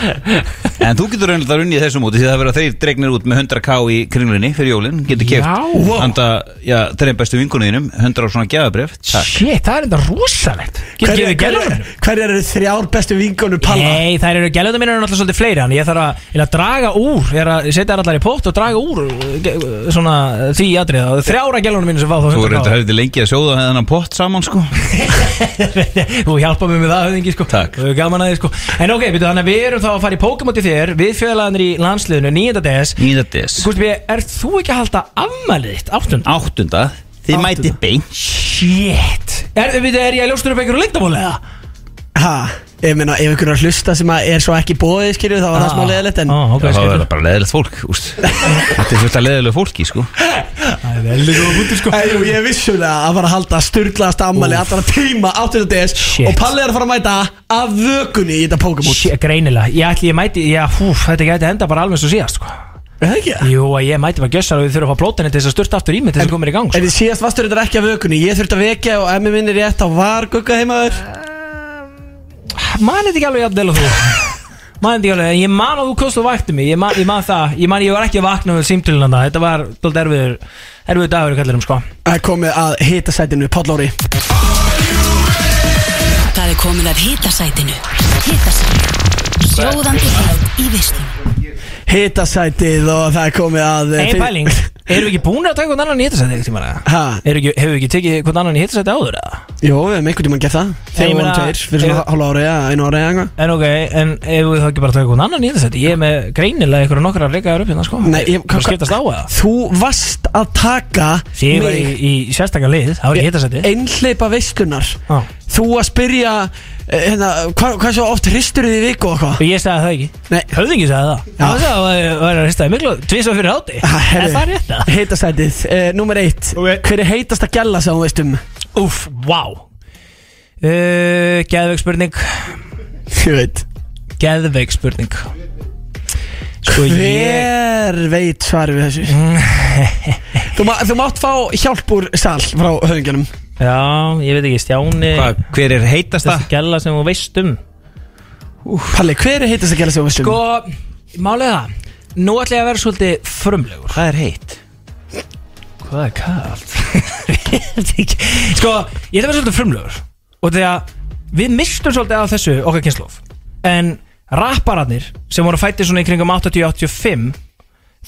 S3: En þú getur raunar unnið þessu móti því það verða þeir dregnir út með 100k í kringlunni fyrir jólin, getur keft
S4: Já.
S3: handa, já, þeirra bestu vinkunuðinum 100 á svona gjafabref Takk
S4: Shit, það er enda rosalegt Getur gefið gælunum
S2: Hverjar eru þrjár bestu vingunum Palla?
S4: Nei, þær eru gælunum minn eru náttúrulega svolítið fleiri Þannig ég þarf að, ég er að draga úr Ég er að setja þær allar í pott og draga úr uh, ge- uh, Svona uh, því atrið Þrjára gælunum minn sem fá þá
S3: Þú verður þetta
S4: 100
S3: hefði lengi að sjóða hennan pott saman sko
S4: kr. [laughs] Þú hjálpa mér með það höfðingi sko
S3: Takk.
S4: Þú hefur gaman að þið sko En ok, byrju, þannig að við erum þá að fara í Pokémon til þér Við fjölaðanir í landsliðinu 9. DS
S3: Nýða des
S4: Gústi B, er þú ekki að halda afmælið þitt?
S3: Ah.
S4: Áttund
S3: Áttunda, þið mæti beins
S4: Shit Er, byrju, er ég að ljóstur upp einhverju lengdamóli eða?
S2: Ha, ég meina ef einhverjar hlusta sem að er svo ekki bóðið skilju þá var það smá leðilegt en
S4: ah,
S3: Já,
S4: okay,
S3: það
S4: skemmtilegt.
S3: verður bara leðilegt fólk
S4: [laughs]
S3: úst. Þetta er fullt að leðilegu fólki sko
S4: Það er veldig góða búti sko
S2: Æ, jú, ég er vissulega að fara að halda styrklaðast ammali allra tíma 80 DS
S4: Shit.
S2: og Palli er að fara að mæta af vökunni í þetta Pokémon
S4: Shit, Greinilega, ég ætli ég mæti já, húf, Þetta gæti enda bara alveg svo síðast sko.
S2: Er það ekki?
S4: Jú, að ég mæti bara gjössar og við þurfum að fá plótinni til þess að styrta aftur í mig til þess að koma mér í gang
S2: En
S4: sko.
S2: þið síðast vastur þetta ekki af vökunni Ég þurfti að vekja og ef mér minni rétt þá var gugga heimaður
S4: Man þetta ekki alveg jafn vel og
S2: [laughs]
S4: þú Man þetta ekki alveg, en ég man að þú kost og vakti mig Ég man, ég man það, ég man ég var ekki að vakna við símtölunanda Þetta var dold erfiður Erfiður dagur í kallinum sko
S2: Það er komið að hita sætinu Páll Óri
S6: Það er komið af hitasætinu Hitasætinu Sjóðandi held í veislunum
S2: Hita sætið og það er komið að eh,
S4: Ein
S2: fyrir-
S4: pæling, erum við ekki búin að taka hvern annan í hittasæti eitthvað tíma
S2: Ha,
S4: Hefur við ekki tekið hvern annan í hittasæti áður eða?
S2: jú, við hefum einhvern tímann gert það Þegar
S4: ég
S2: við vorum
S4: meina-
S2: tveir, fyrir svona
S4: ég-
S2: hálf ári eða einu ári eða eitthvað
S4: En ok, en ef við þá ekki bara taka hvern annan í hittasæti Ég er með greinilega ykkur nokkra reykaður upp hérna sko
S2: Nei, ég-
S4: Bara skiptast á eða?
S2: Þú varst að taka
S4: Því ég var í,
S2: mig
S4: í sérstakar lið, það var ekki hittasæti
S2: einhleypa veislunar
S4: Já.
S2: Þú að spyrja eh, hérna, hva, hvað svo oft hristur þið í viku og
S4: Og
S2: hvað
S4: ég sagði það ekki
S2: Nei.
S4: Höfðingi sagði það
S2: Já.
S4: Það sagði að það var- var að hristaði miklu Tvísa fyrir háti
S2: [laughs]
S4: Er það rétt það?
S2: Heitasætið, uh, númer eitt
S4: Ok.
S2: Hver er heitasta gælla sem þú veist um?
S4: Úff, vá uh, Geðveik spurning
S2: Ég veit
S4: Geðveik spurning Sko ég
S2: Hver veit svarið við [laughs] þessu? þú, ma þú mátt fá hjálp úr sal frá höfðingunum
S4: Já, ég veit ekki Stjáni
S3: Hva, Hver er heitasta?
S4: Þessi gælla sem þú veist um
S2: Palli, hver er heitasta gælla sem þú veist um?
S4: Sko, málega það Nú ætla ég að vera svolítið frumlegur
S3: Hvað er heitt?
S4: Hvað er kallt? [laughs] sko, ég ætla að vera svolítið frumlegur Og því að við mistum svolítið af þessu okkar kynnslóf En rappararnir sem voru fættið svona í kringum 80-85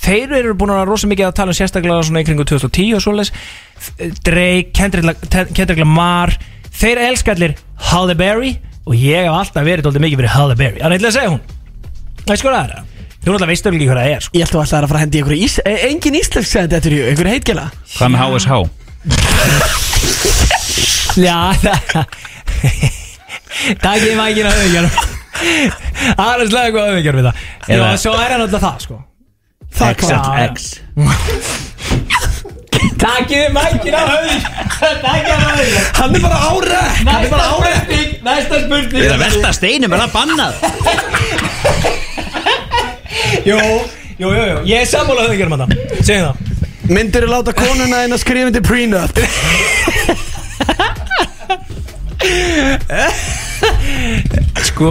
S4: Þeir eru búin að vera rosa mikið að tala um sérstaklega svona í kringum 2010 og svoleiðis Drake, Kendrick La- Te- Kendrick Lamar Þeir elskallir Halle Berry og ég hef alltaf verið dóldi mikið fyrir Halle Berry Þannig ætla ég að segja hún Það er sko það er það Þú náttúrulega veist ekki hvað það er sko.
S2: Ég ætla alltaf að fara að hendi ykkur ís e, Engin íslensk sæði þetta er ju, ykkur heitgjala
S3: Hvað með HSH?
S4: Já, það Takk ég mækin að auðvigjarum Aðeins lega hvað auðvigjarum við það Já,
S3: Eða-
S4: svo er hann alltaf það sko
S2: Það
S4: hvað?
S3: XLX
S4: Takk ég mækin að auðvigjarum Takk ég að auðvigjarum
S2: Hann er bara árek Hann er bara árek
S4: spurning, næsta spurning
S3: Við erum að velta steinum, er það bannað?
S4: Jú, jú, jú, jú, ég er sammála auðvigjarum að það Segjum það
S2: Myndirðu láta konuna þín að skrifa undir [laughs] prenup
S4: Sko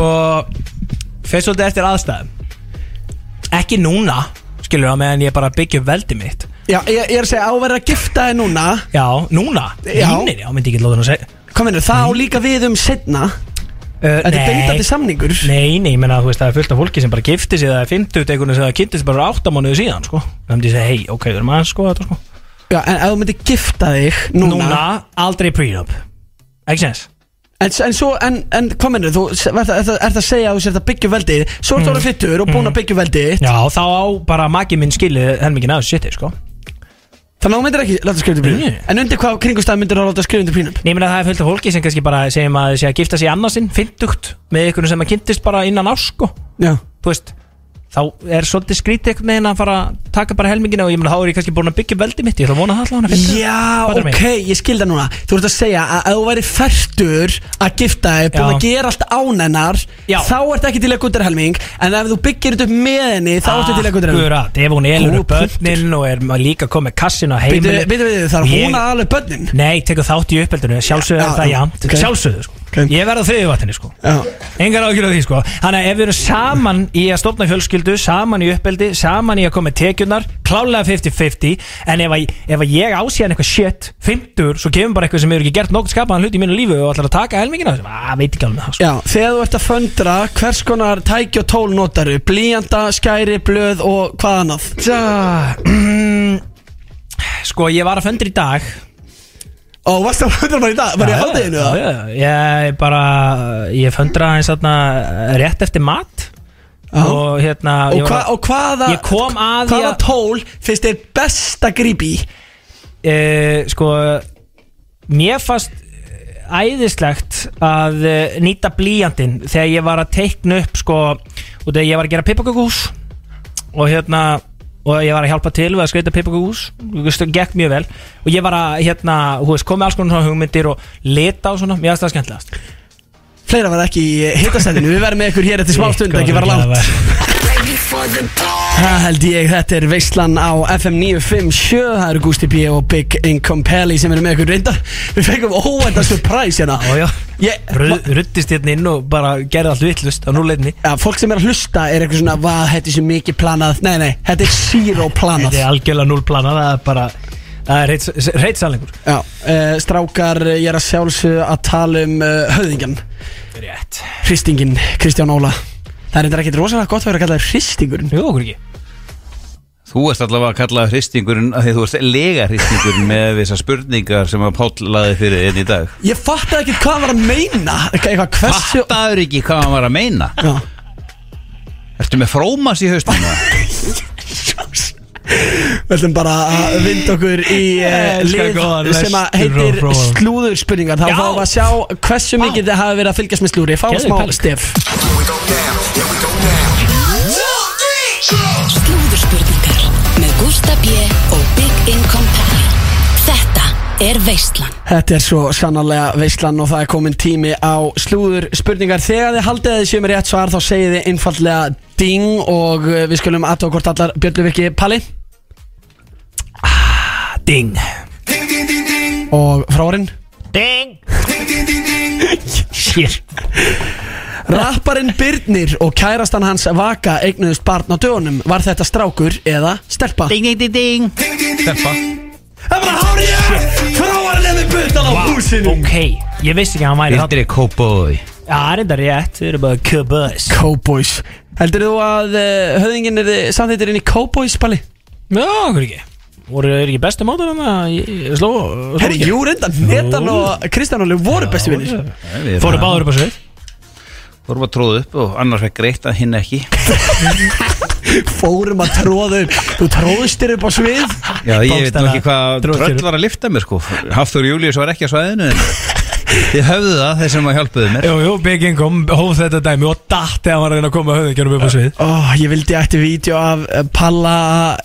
S4: Fyrst svolítið eftir aðstæðum Ekki núna Skilur það meðan ég bara byggja upp veldi mitt
S2: Já, ég, ég er að segja áverða að gifta þið núna
S4: Já, núna
S2: Já.
S4: Núna, já, myndi ég ekki láta hann að segja
S2: Hvað minnur, það á líka við um setna
S4: Uh,
S2: Þetta er bindandi samningur
S4: Nei, nei, ég menna þú veist það er fullt af fólki sem bara gifti sig Það er 50 tekunum sem það kynnti sig bara 8 mánuðu síðan sko. Það myndi ég segja, hei, ok, við erum aðeins sko þetta sko
S2: Já, en ef þú myndir gifta þig núna,
S4: Núna, aldrei prenup Ekki sens?
S2: En, en svo, en, en hvað minnur, þú s- var það- er það er það að segja að þú sért að byggja veldið Svo ertu orðið fittur og búin að byggja veldið þitt.
S4: Mm. Já, þá á bara maki minn skilið helmingin af þessu shiti sko
S2: Þannig að þú myndir ekki láta skrifa undir
S4: Nei.
S2: prenup En undir hvað kringustæð myndir þú láta skrifa undir prenup
S4: Nei, ég meina það er fullt af fólki sem kannski bara segjum að sé að gifta sig annarsinn, fintugt með einhvern sem að kynntist bara innan ás sko
S2: Já
S4: þú veist þá er svolítið skrítið einhvern veginn að fara að taka bara helmingina og ég meina þá er ég kannski búin að byggja upp veldið mitt, ég ætla að vona það allavega að finna
S2: Já,
S4: Fattar mig?
S2: ok, ég skil það núna Þú ert að segja að ef þú væri færtur að gifta þig Búin
S4: Já.
S2: að gera allt ánennar
S4: Já.
S2: Þá ert ekki til að guttar helming En ef þú byggir þetta upp með henni
S4: Ah,
S2: Þá ertu til að guttar helming
S4: Akkurat, ef hún elur upp
S2: Góður
S4: börnin og er maður líka komið kassin á
S2: Býtu,
S4: heimili
S2: býtu, býtu, þarf
S4: Ég-
S2: hún að alveg börnin
S4: Nei, tekur þátt í uppeldinu, sjálfsögðu
S2: Já,
S4: er það
S2: já,
S4: jafnt
S2: ok.
S4: Sjálfsögðu, sko
S2: Ok.
S4: Ég verð á þriðvatni, sko
S2: Já,
S4: Engar ágjur á því sko Þannig að ef við erum saman í að stofna fjölskyldu Saman í uppeldi, saman í að koma með tekjurnar Klálega 50-50 En ef, að, ef að ég ásíðan eitthvað shit 50, svo kemur bara eitthvað sem hefur ekki gert nokkuð skapaðan hlut í mínu lífi og ætlar að taka helmingina Það veit ekki alveg með það sko
S2: já, þegar þú ert að föndra Hvers konar tæki og tól notaru Blíjanda, skæri, blöð og hvað annað
S4: Það mm,
S2: [clears throat]
S4: Sko, ég var að föndur í dag
S2: Ó, varst það að föndra bara í dag Var ég á hátæðinu
S4: Já,
S2: það?
S4: já, já, Ég bara, ég föndra eins þarna rétt eftir mat
S2: Já.
S4: Og hérna ég
S2: Og,
S4: var
S2: hva,
S4: að-
S2: og hvaða,
S4: Ég kom að því
S2: hvaða
S4: að-
S2: tól finnst þér best að grípi í?
S4: uh, sko mér fannst æðislegt að uh, nýta blíjandinn þegar ég var að teikna upp sko, og þegar ég var að gera pippakökuhús og hérna og ég var að hjálpa til við að skreita pippakökuhús gekk mjög vel og ég var að hérna, hú veist, komið alls konar svona hugmyndir og lita og svona, mér fannst það skemmtilegast
S2: Fleira var ekki í hitastæðinu Við verðum með ykkur hér eftir smá stund Ekki var langt Það held ég, þetta er veislan á FM 957 Það eru Gusti B. og Big Income Peli sem eru með ykkur reyndar Við fengum óvænta surpræs hérna
S4: Já, já.
S2: Ég, ma-
S4: ruttist hérna inn og bara gerði allt vittlust á núleginni
S2: ja, Fólk sem er að hlusta er eitthvað svona Hvað, þetta er svo mikið planað Nei, nei, þetta er zero planað
S4: þetta er
S2: Já,
S4: algjörlega núlplanað það er bara, það er reitt- reitt salengur
S2: uh, Strákar, ég er að sjálfsög að tala um uh, höfðingan
S4: rétt,
S2: Hristingin, Kristján Óla Það er þetta ekkert rosalega gott að vera að kalla það hristingurinn
S4: jú okkur ekki
S3: Þú ert allavega að kalla hristingurinn að því þú ert lega hristingurinn með þessar spurningar sem að Páll laði fyrir einn í dag
S2: Ég fattaði ekkert hvað hann var að meina Eitthvað, hversu
S3: Fattaður ekki hvað hann var að meina
S2: Já.
S3: Ertu með frómas í haustum
S2: Við ætlum bara að vinda okkur í uh,
S4: Ég elska
S2: lið
S4: góðan
S2: sem að
S4: lestur og
S2: heitir
S4: prófum.
S2: slúðurspurningar Þá
S4: Já.
S2: fáum við að sjá hversu mikið þið hafa verið að fylgjast með slúri Fáum
S4: Geðveik
S2: smá
S4: pæling.
S2: stef
S1: Slúðurspurningar með Gústa B. og Big Income Pally Þetta er veislan
S2: Þetta er svo sannarlega veislan og það er komin tími á slúðurspurningar Þegar þið haldið að þið séu með rétt svar þá segið þið einfallega ding og eh, við skulum aðtók hvort allar Björluvirki Palli
S4: Ding
S10: Ding, ding, ding, ding
S2: og frárin
S4: Ding
S10: Ding, ding, ding, ding
S4: Shit
S2: Rapparinn Byrnir og kærastan hans Vaka eignuðust barn á dögunum Var þetta strákur eða stelpa?
S3: Ding, ding, ding, ding
S10: Ding, ding, ding,
S3: Steppa.
S10: ding
S2: Það er bara hárið ég Frávarinn er með butan á húsinu
S4: Ok Ég vissi ekki að hann væri þarna
S3: Bildri kópói
S4: Já, það er enda rétt Þau eru bara kubus
S2: Cowboys Heldur þú að uh, höfðingin er samþýttir inn í Cowboys balli?
S4: Já, okkur ekki Voru þeir ekki bestu mótur hann að ég sló sló
S2: Herri,
S4: ekki?
S2: jú reynda Netan og Kristján Óli voru bestu vinnir
S4: Fóru báður upp á svið
S3: Fórum að tróða upp og annars var greitt að hinn ekki
S2: Fórum að tróða upp Þú tróðst þér upp á svið
S3: Já, ég veit nú ekki hvað
S2: Dróðst þér
S3: tröll
S2: upp.
S3: var að lifta mér sko Hafþór Július var ekki að svæðinu en Þið höfðu það, þeir sem að hjálpuðu mér
S4: Jú, jú, Big Income hóf þetta dæmi og datt þegar hann var að reyna að koma höfðingjörum upp á svið
S2: Ó, ég vildi ætti vídeo af eh, Palla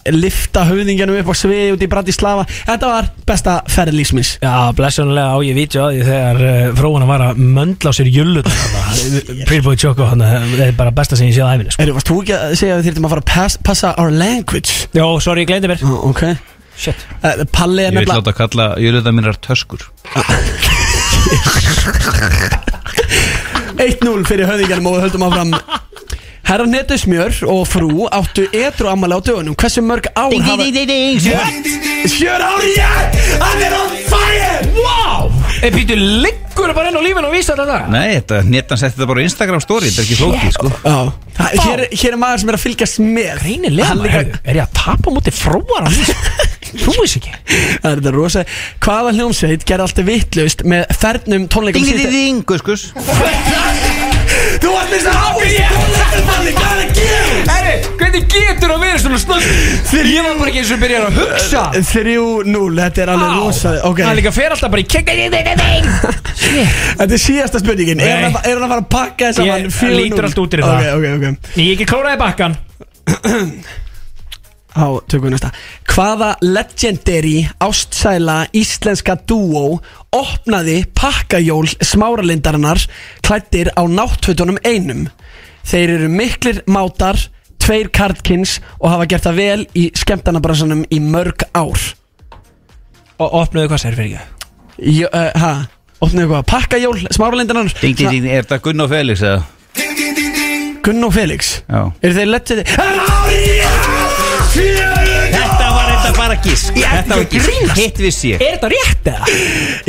S2: að lifta höfðingjanum upp á svið út í Bratislava Þetta var besta ferð lífsmins
S4: Já, blessunulega á ég vítja á því þegar uh, fróðuna var að möndla á sér jöllut [laughs] Pretty Boy Choco, hann það er bara besta sem ég séð á æfinu sko.
S2: Eru, varst þú ekki að segja að við þyrftum að fara að pass, passa our language?
S4: Jó, sorry, ég gleyndi mér
S2: Ok
S4: Shit
S2: Eh, Palli er
S3: Ég vil
S2: nefnilega
S3: láta kalla júliða mínar töskur
S2: 1-0 fyrir höfðingjanum og við höldum áfram Herra Netusmjör og frú áttu edru ammali á dögunum Hversu mörg ár
S3: Ding,
S2: hafa...
S3: ding, ding, ding, ding
S2: What? Sjör ári ég! Hann er on fire!
S4: Wow, ég býtu Eh, liggur bara inn á lífinu og vísa þetta
S3: Nei, þetta, netan setti þetta bara á Instagram story Þetta er ekki flókið sko
S2: Já, Þa- hér, hér er maður sem er að fylgjast með
S4: Greinilega,
S2: Hann
S4: maður,
S2: líka-
S4: heyrðu, er ég að tapa múti fróðar á því sko? [laughs] Þú veist ekki
S2: [laughs] Það er þetta rosa Hvaða hljómsveit gerði alltaf vittlaust með fernum tónleikum
S3: Ding, ding,
S2: síðdegi-
S3: ding, ding, guðskus
S2: [laughs] Þú varst með þess að hafa í tónleikumfanni Hvað er að gera?
S4: Herri, hvernig getur að vera svona snögg? Ég var bara ekki eins og byrjar að hugsa
S2: 3-0, þetta er alveg rosa Ok,
S4: Eh, Það líka fer alltaf bara í kekk
S2: þetta er síðasta spurningin Er
S4: Nei.
S2: hann að er hann að fara að pakka þess að
S4: Ég-
S2: hann
S4: það lítur allt út fyrir það.
S2: Ok, ok, ok
S4: [laughs] Ég ekki klóraði bakkan
S2: Á, tökum við næsta Hvaða legendary ástsæla íslenska dúó opnaði pakkajól smáralindarinnar klættir á náttfötunum einum Þeir eru miklir mátar, tveir kardkins og hafa gert það vel í skemmtanabransanum í mörg ár
S4: Og opnaðu hvað sér fyrir ekki
S2: Jó, uh, ha, opnaðu hvað, pakkajól smáralindarinnar
S3: Ding, ding, ding, er þetta Gunn og Felix eða?
S2: Gunn og Felix
S3: Já
S2: Eru þeir legendary? Er
S3: Þetta var þetta bara gísk Þetta var gísk, hitt vissi ég
S4: Er þetta rétt eða?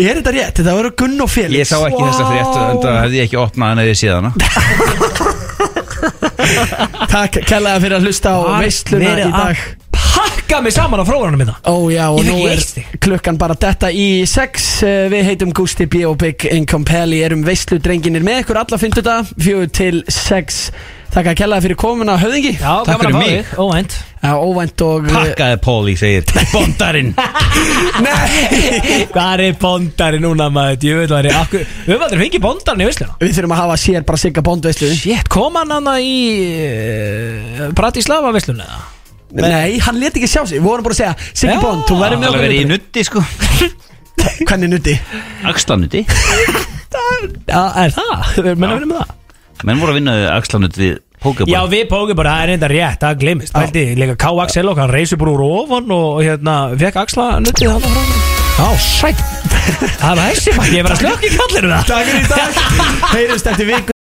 S2: þetta rétt? Þetta voru Gunn og Felix
S3: Ég sá ekki þessa frétt en það hefði ég ekki opnað hann eða ég séð hana
S2: Takk kærlega fyrir að hlusta á
S4: Var
S2: veisluna
S4: verið
S2: í dag
S4: að Pakka mig saman á hérna. fróðanum minna
S2: Ó já, og
S4: Ég
S2: nú
S4: fekk
S2: er
S4: eitt stig.
S2: klukkan bara detta í 6 Við heitum Gusti B. og Big Income Pally Erum veistludrenginir með ykkur alla fynduta Fjögur til 6 Takk að kella fyrir komuna höfðingi
S4: Já,
S3: Takk
S4: gaman
S3: fyrir
S4: að fá
S3: mig.
S4: þig Óvænt
S2: Já, óvænt og eh,
S3: Pakkaði Póli, segir Bondarinn
S4: [laughs]
S2: Nei
S4: Hvað er bondari núna maður? Ég veit hvað er akkur Við höfum aldrei fengið bondarinn í vissluna
S2: Við þurfum að hafa sér bara sigga bondveislu
S4: Shit, kom hann hann í uh, Bratislava vissluna eða?
S2: Nei, hann leti ekki sjá sig Við vorum bara að segja Siggi
S4: Já.
S2: Bond, þú verður
S3: Það
S2: með
S3: var
S2: okkur
S3: verið í
S2: í
S3: nutti sko
S2: nuddið. Hvernig nutti?
S3: Axlanutti
S4: Já, er það? Við erum að vinna með það
S3: Menn voru að vinna axlanutti við Pokémon
S4: Já, við pókum bara, það er reynda rétt, það glimist Pældi, líka K. Axel og hann reysir bara úr ofan og hérna, fekk Axla nuttið hann frá mér Já, sætt Það var þessi maður, ég var að slökk í kallinu það
S2: Takk fyrir í dag [laughs] Heyrumst eftir viku